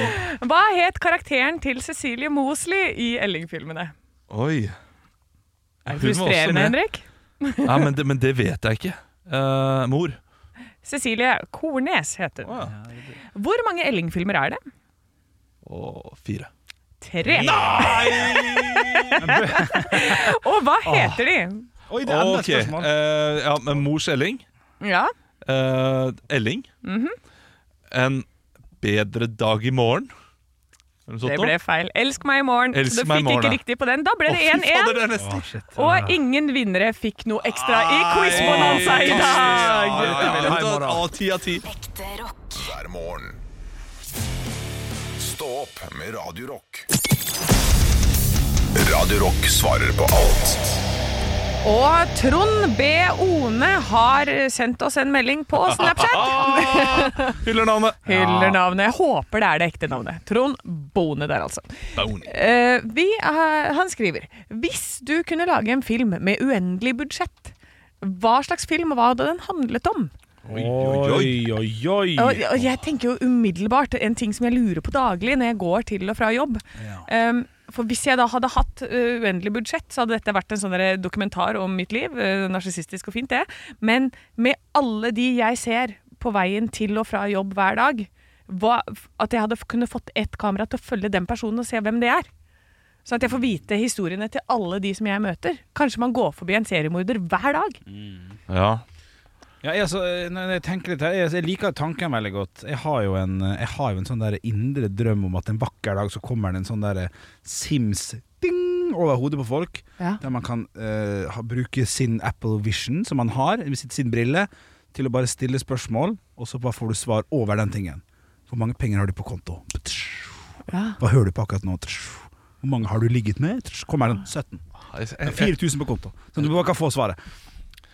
Hva het karakteren til Cecilie Mosley i Elling-filmene?
Oi. Hun
Er det
var også med.
frustrerende, Henrik?
Ja, men, det, men det vet jeg ikke. Eh, mor.
Cecilie Kornes heter
Å,
hun. Hvor mange Elling-filmer er det?
Og fire.
Tre. Og hva heter de?
Oi, det er enda et
Ok.
spørsmål.
eh, ja, men mors Elling.
Ja.
Eh, Elling.
Mhm.
En bedre dag i morgen. Eller noe sånt
Det
da.
ble feil. Elsk meg i morgen.
Elsk
du
meg i
fikk
morgen,
ikke
ja.
riktig på den. Da ble
Å,
det
fy fader,
1-1.
det er nesten
Og ingen vinnere fikk noe ekstra i quizbonanza
Ja,
i dag.
ja, ja, ja, ja, ja, Ti av ti.
Ekte rock.
hver morgen. Stå opp med Radio Rock. Radio Rock svarer på alt
Og Trond B. One har sendt oss en melding på Snapchat.
Hyller navnet.
Hyller navnet. Jeg håper det er det ekte navnet. Trond Bone der, altså. Eh, vi, eh, han skriver Hvis du kunne lage en film med uendelig budsjett, hva slags film var det den handlet om?
Oi, oi, oi.
oi,
Og, og jeg tenker jo umiddelbart en ting som jeg lurer på daglig når jeg går til og fra jobb. Um, for hvis jeg da hadde hatt uh, uendelig budsjett, så hadde dette vært en sånn der dokumentar om mitt liv. Uh, Narsissistisk og fint, det. Men med alle de jeg ser på veien til og fra jobb hver dag, hva, at jeg hadde f- kunne fått ett kamera til å følge den personen og se hvem det er. Sånn at jeg får vite historiene til alle de som jeg møter. Kanskje man går forbi en seriemorder hver dag.
Ja.
Ja, jeg, altså, når jeg tenker litt her jeg, jeg liker tanken veldig godt. Jeg har jo en, jeg har jo en sånn der indre drøm om at en vakker dag så kommer det en sånn der Sims ding over hodet på folk.
Ja.
Der man kan eh, ha, bruke sin Apple Vision, som man har, med sitt, sin brille, til å bare stille spørsmål, og så bare får du svar over den tingen. Hvor mange penger har du på konto?
Ja.
Hva hører du på akkurat nå? Hvor mange har du ligget med? Kommer den 17.
Jeg,
Det er
jeg,
4000 på konto. Så du bare kan få svaret.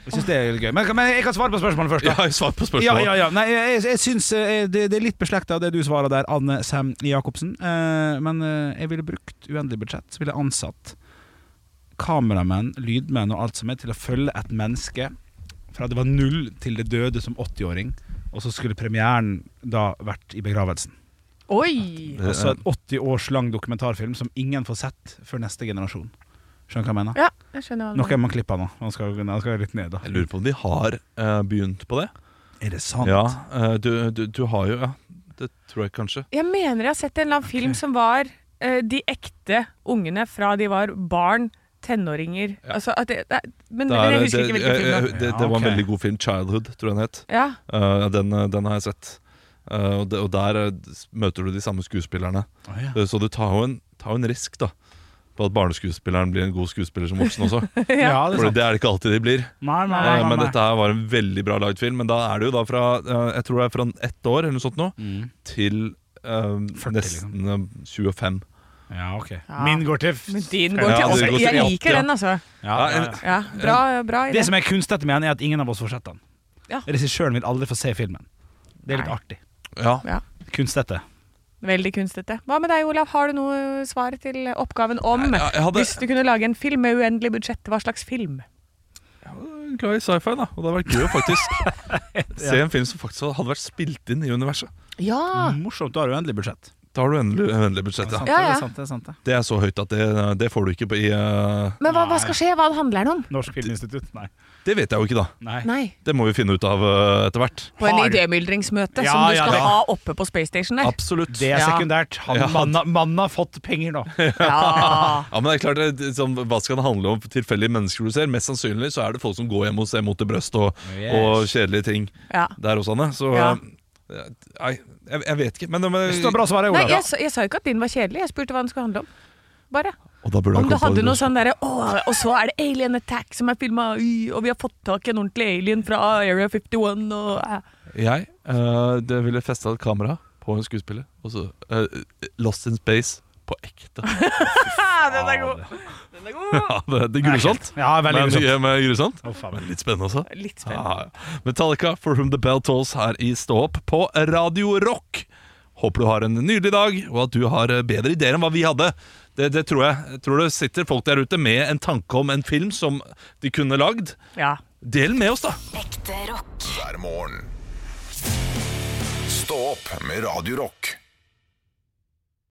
Jeg synes det er gøy. Men, men jeg kan svare på spørsmålet først. da.
jeg har jo svart på
Ja,
spørsmålet.
ja, ja. Nei, jeg, jeg syns eh, det, det er litt beslekta det du svarer der, Anne Sem Jacobsen. Eh, men eh, jeg ville brukt uendelig budsjett. Så ville jeg ansatt kameramenn, lydmenn og alt som er, til å følge et menneske fra det var null til det døde som 80-åring. Og så skulle premieren da vært i begravelsen.
Oi!
Eh,
Altså en 80 års lang dokumentarfilm som ingen får sett før neste generasjon. Skjønner du hva jeg mener?
Ja, jeg skjønner hva du
Noe man klipper nå. Man skal, man skal litt ned,
Jeg
da.
lurer på om de har eh, begynt på det.
Er det sant?
Ja, eh, du, du, du har jo Ja, det tror jeg kanskje.
Jeg mener jeg har sett en eller annen film som var eh, de ekte ungene fra de var barn, tenåringer altså at det, det, Men
Det, er,
jeg husker
det,
ikke hvilken film
eh,
det
eh,
var.
det, det var en
Ja, ok.
veldig god film. 'Childhood', tror jeg den het.
Ja.
Eh, den, eh, den har jeg sett. Eh, og, de, og der eh, s- møter du de samme skuespillerne.
Å, ja.
Eh, Så du tar jo en, tar jo en risk da på at barneskuespilleren blir en god skuespiller som voksen også.
Ja, det er
For
sant.
det er det ikke alltid de blir.
Nei, nei, nei,
Eh,
nei,
men
nei.
dette her var en veldig bra lagd film. Men da er det jo da fra eh, Jeg tror det er fra ett år eller noe sånt nå
Mm.
til eh,
40,
nesten
liksom.
eh, 25.
Ja, ok.
Ja.
Min går til f-
Men din går
Ja,
til
det
oss.
går til
Jeg
åtti,
liker
ja.
den, altså.
Ja, ja, ja.
Ja, bra, bra idé.
Det som er kunstig med den, er at ingen av oss får sett den.
Ja.
Regissøren vil aldri få se filmen. Det er litt
Nei.
artig.
Ja.
Kunstete.
Veldig kunstete. Hva med deg, Olav? Har du noe svar til oppgaven om
Nei, jeg- jeg hadde-
Hvis du kunne lage en film med uendelig budsjett, hva slags film?
Glad i sci-fi, da. Og det hadde vært gøy å faktisk se en film som faktisk hadde vært spilt inn i universet.
Ja!
Mm.
Morsomt, du har uendelig budsjett.
Da har du endelig, endelig budsjett, ja.
Sant,
Ja,
det,
ja.
er sant, det er sant, det.
Det er så høyt at det, det får du ikke på i eh,
Men hva, hva skal skje? Hva handler den om?
Norsk Filminstitutt, nei.
Det vet jeg jo ikke, da.
nei.
Nei.
Det må vi finne ut av eh, etter hvert.
På en
Har du-
idémyldringsmøte
Ja,
som du
ja,
skal
det-
ha oppe på Space Station der.
Absolutt.
Det er
Ja.
sekundært. Han,
Ja.
mannen, mannen har fått penger nå.
Ja.
Ja, men det er klart, det- det, som, Hva skal det handle om for tilfeldige mennesker du ser? Mest sannsynlig så er det folk som går hjem og ser mot i brøst og,
Yes.
og kjedelige ting
ja.
der også, Anne. Så
Ja.
eh, Nei, jeg, jeg vet ikke. Men, eh, men
Hvis du har bra svar,
Nei,
Olav.
jeg, sa- jeg sa ikke at din var kjedelig. Jeg spurte hva den skulle handle om. Bare.
Og da burde
Om
han
du
kommet på
hadde
det.
noe sånn derre «Åh, Og så er det Alien Attack som er filma, og vi har fått tak i en ordentlig alien fra Area 51 og æ».
Jeg eh, det ville festa et kamera på en skuespiller, og så eh, Lost in Space på ekte.
Ah, den er god! Den er god.
Ja, det, det er grusomt.
Ja, veldig
Men,
grusomt.
ja, men grusomt.
Å, faen.
Men litt spennende også.
Litt spennende.
Ja, ja. Metallica, For Whom The Bell Tolls her i Stå opp på Radio Rock. Håper du har en nydelig dag, og at du har eh, bedre ideer enn hva vi hadde. Det, det tror jeg. jeg tror det sitter folk der ute med en tanke om en film som de kunne lagd.
Ja.
Del den med oss, da!
Ekte rock.
hver morgen. Stå opp med Radio Rock.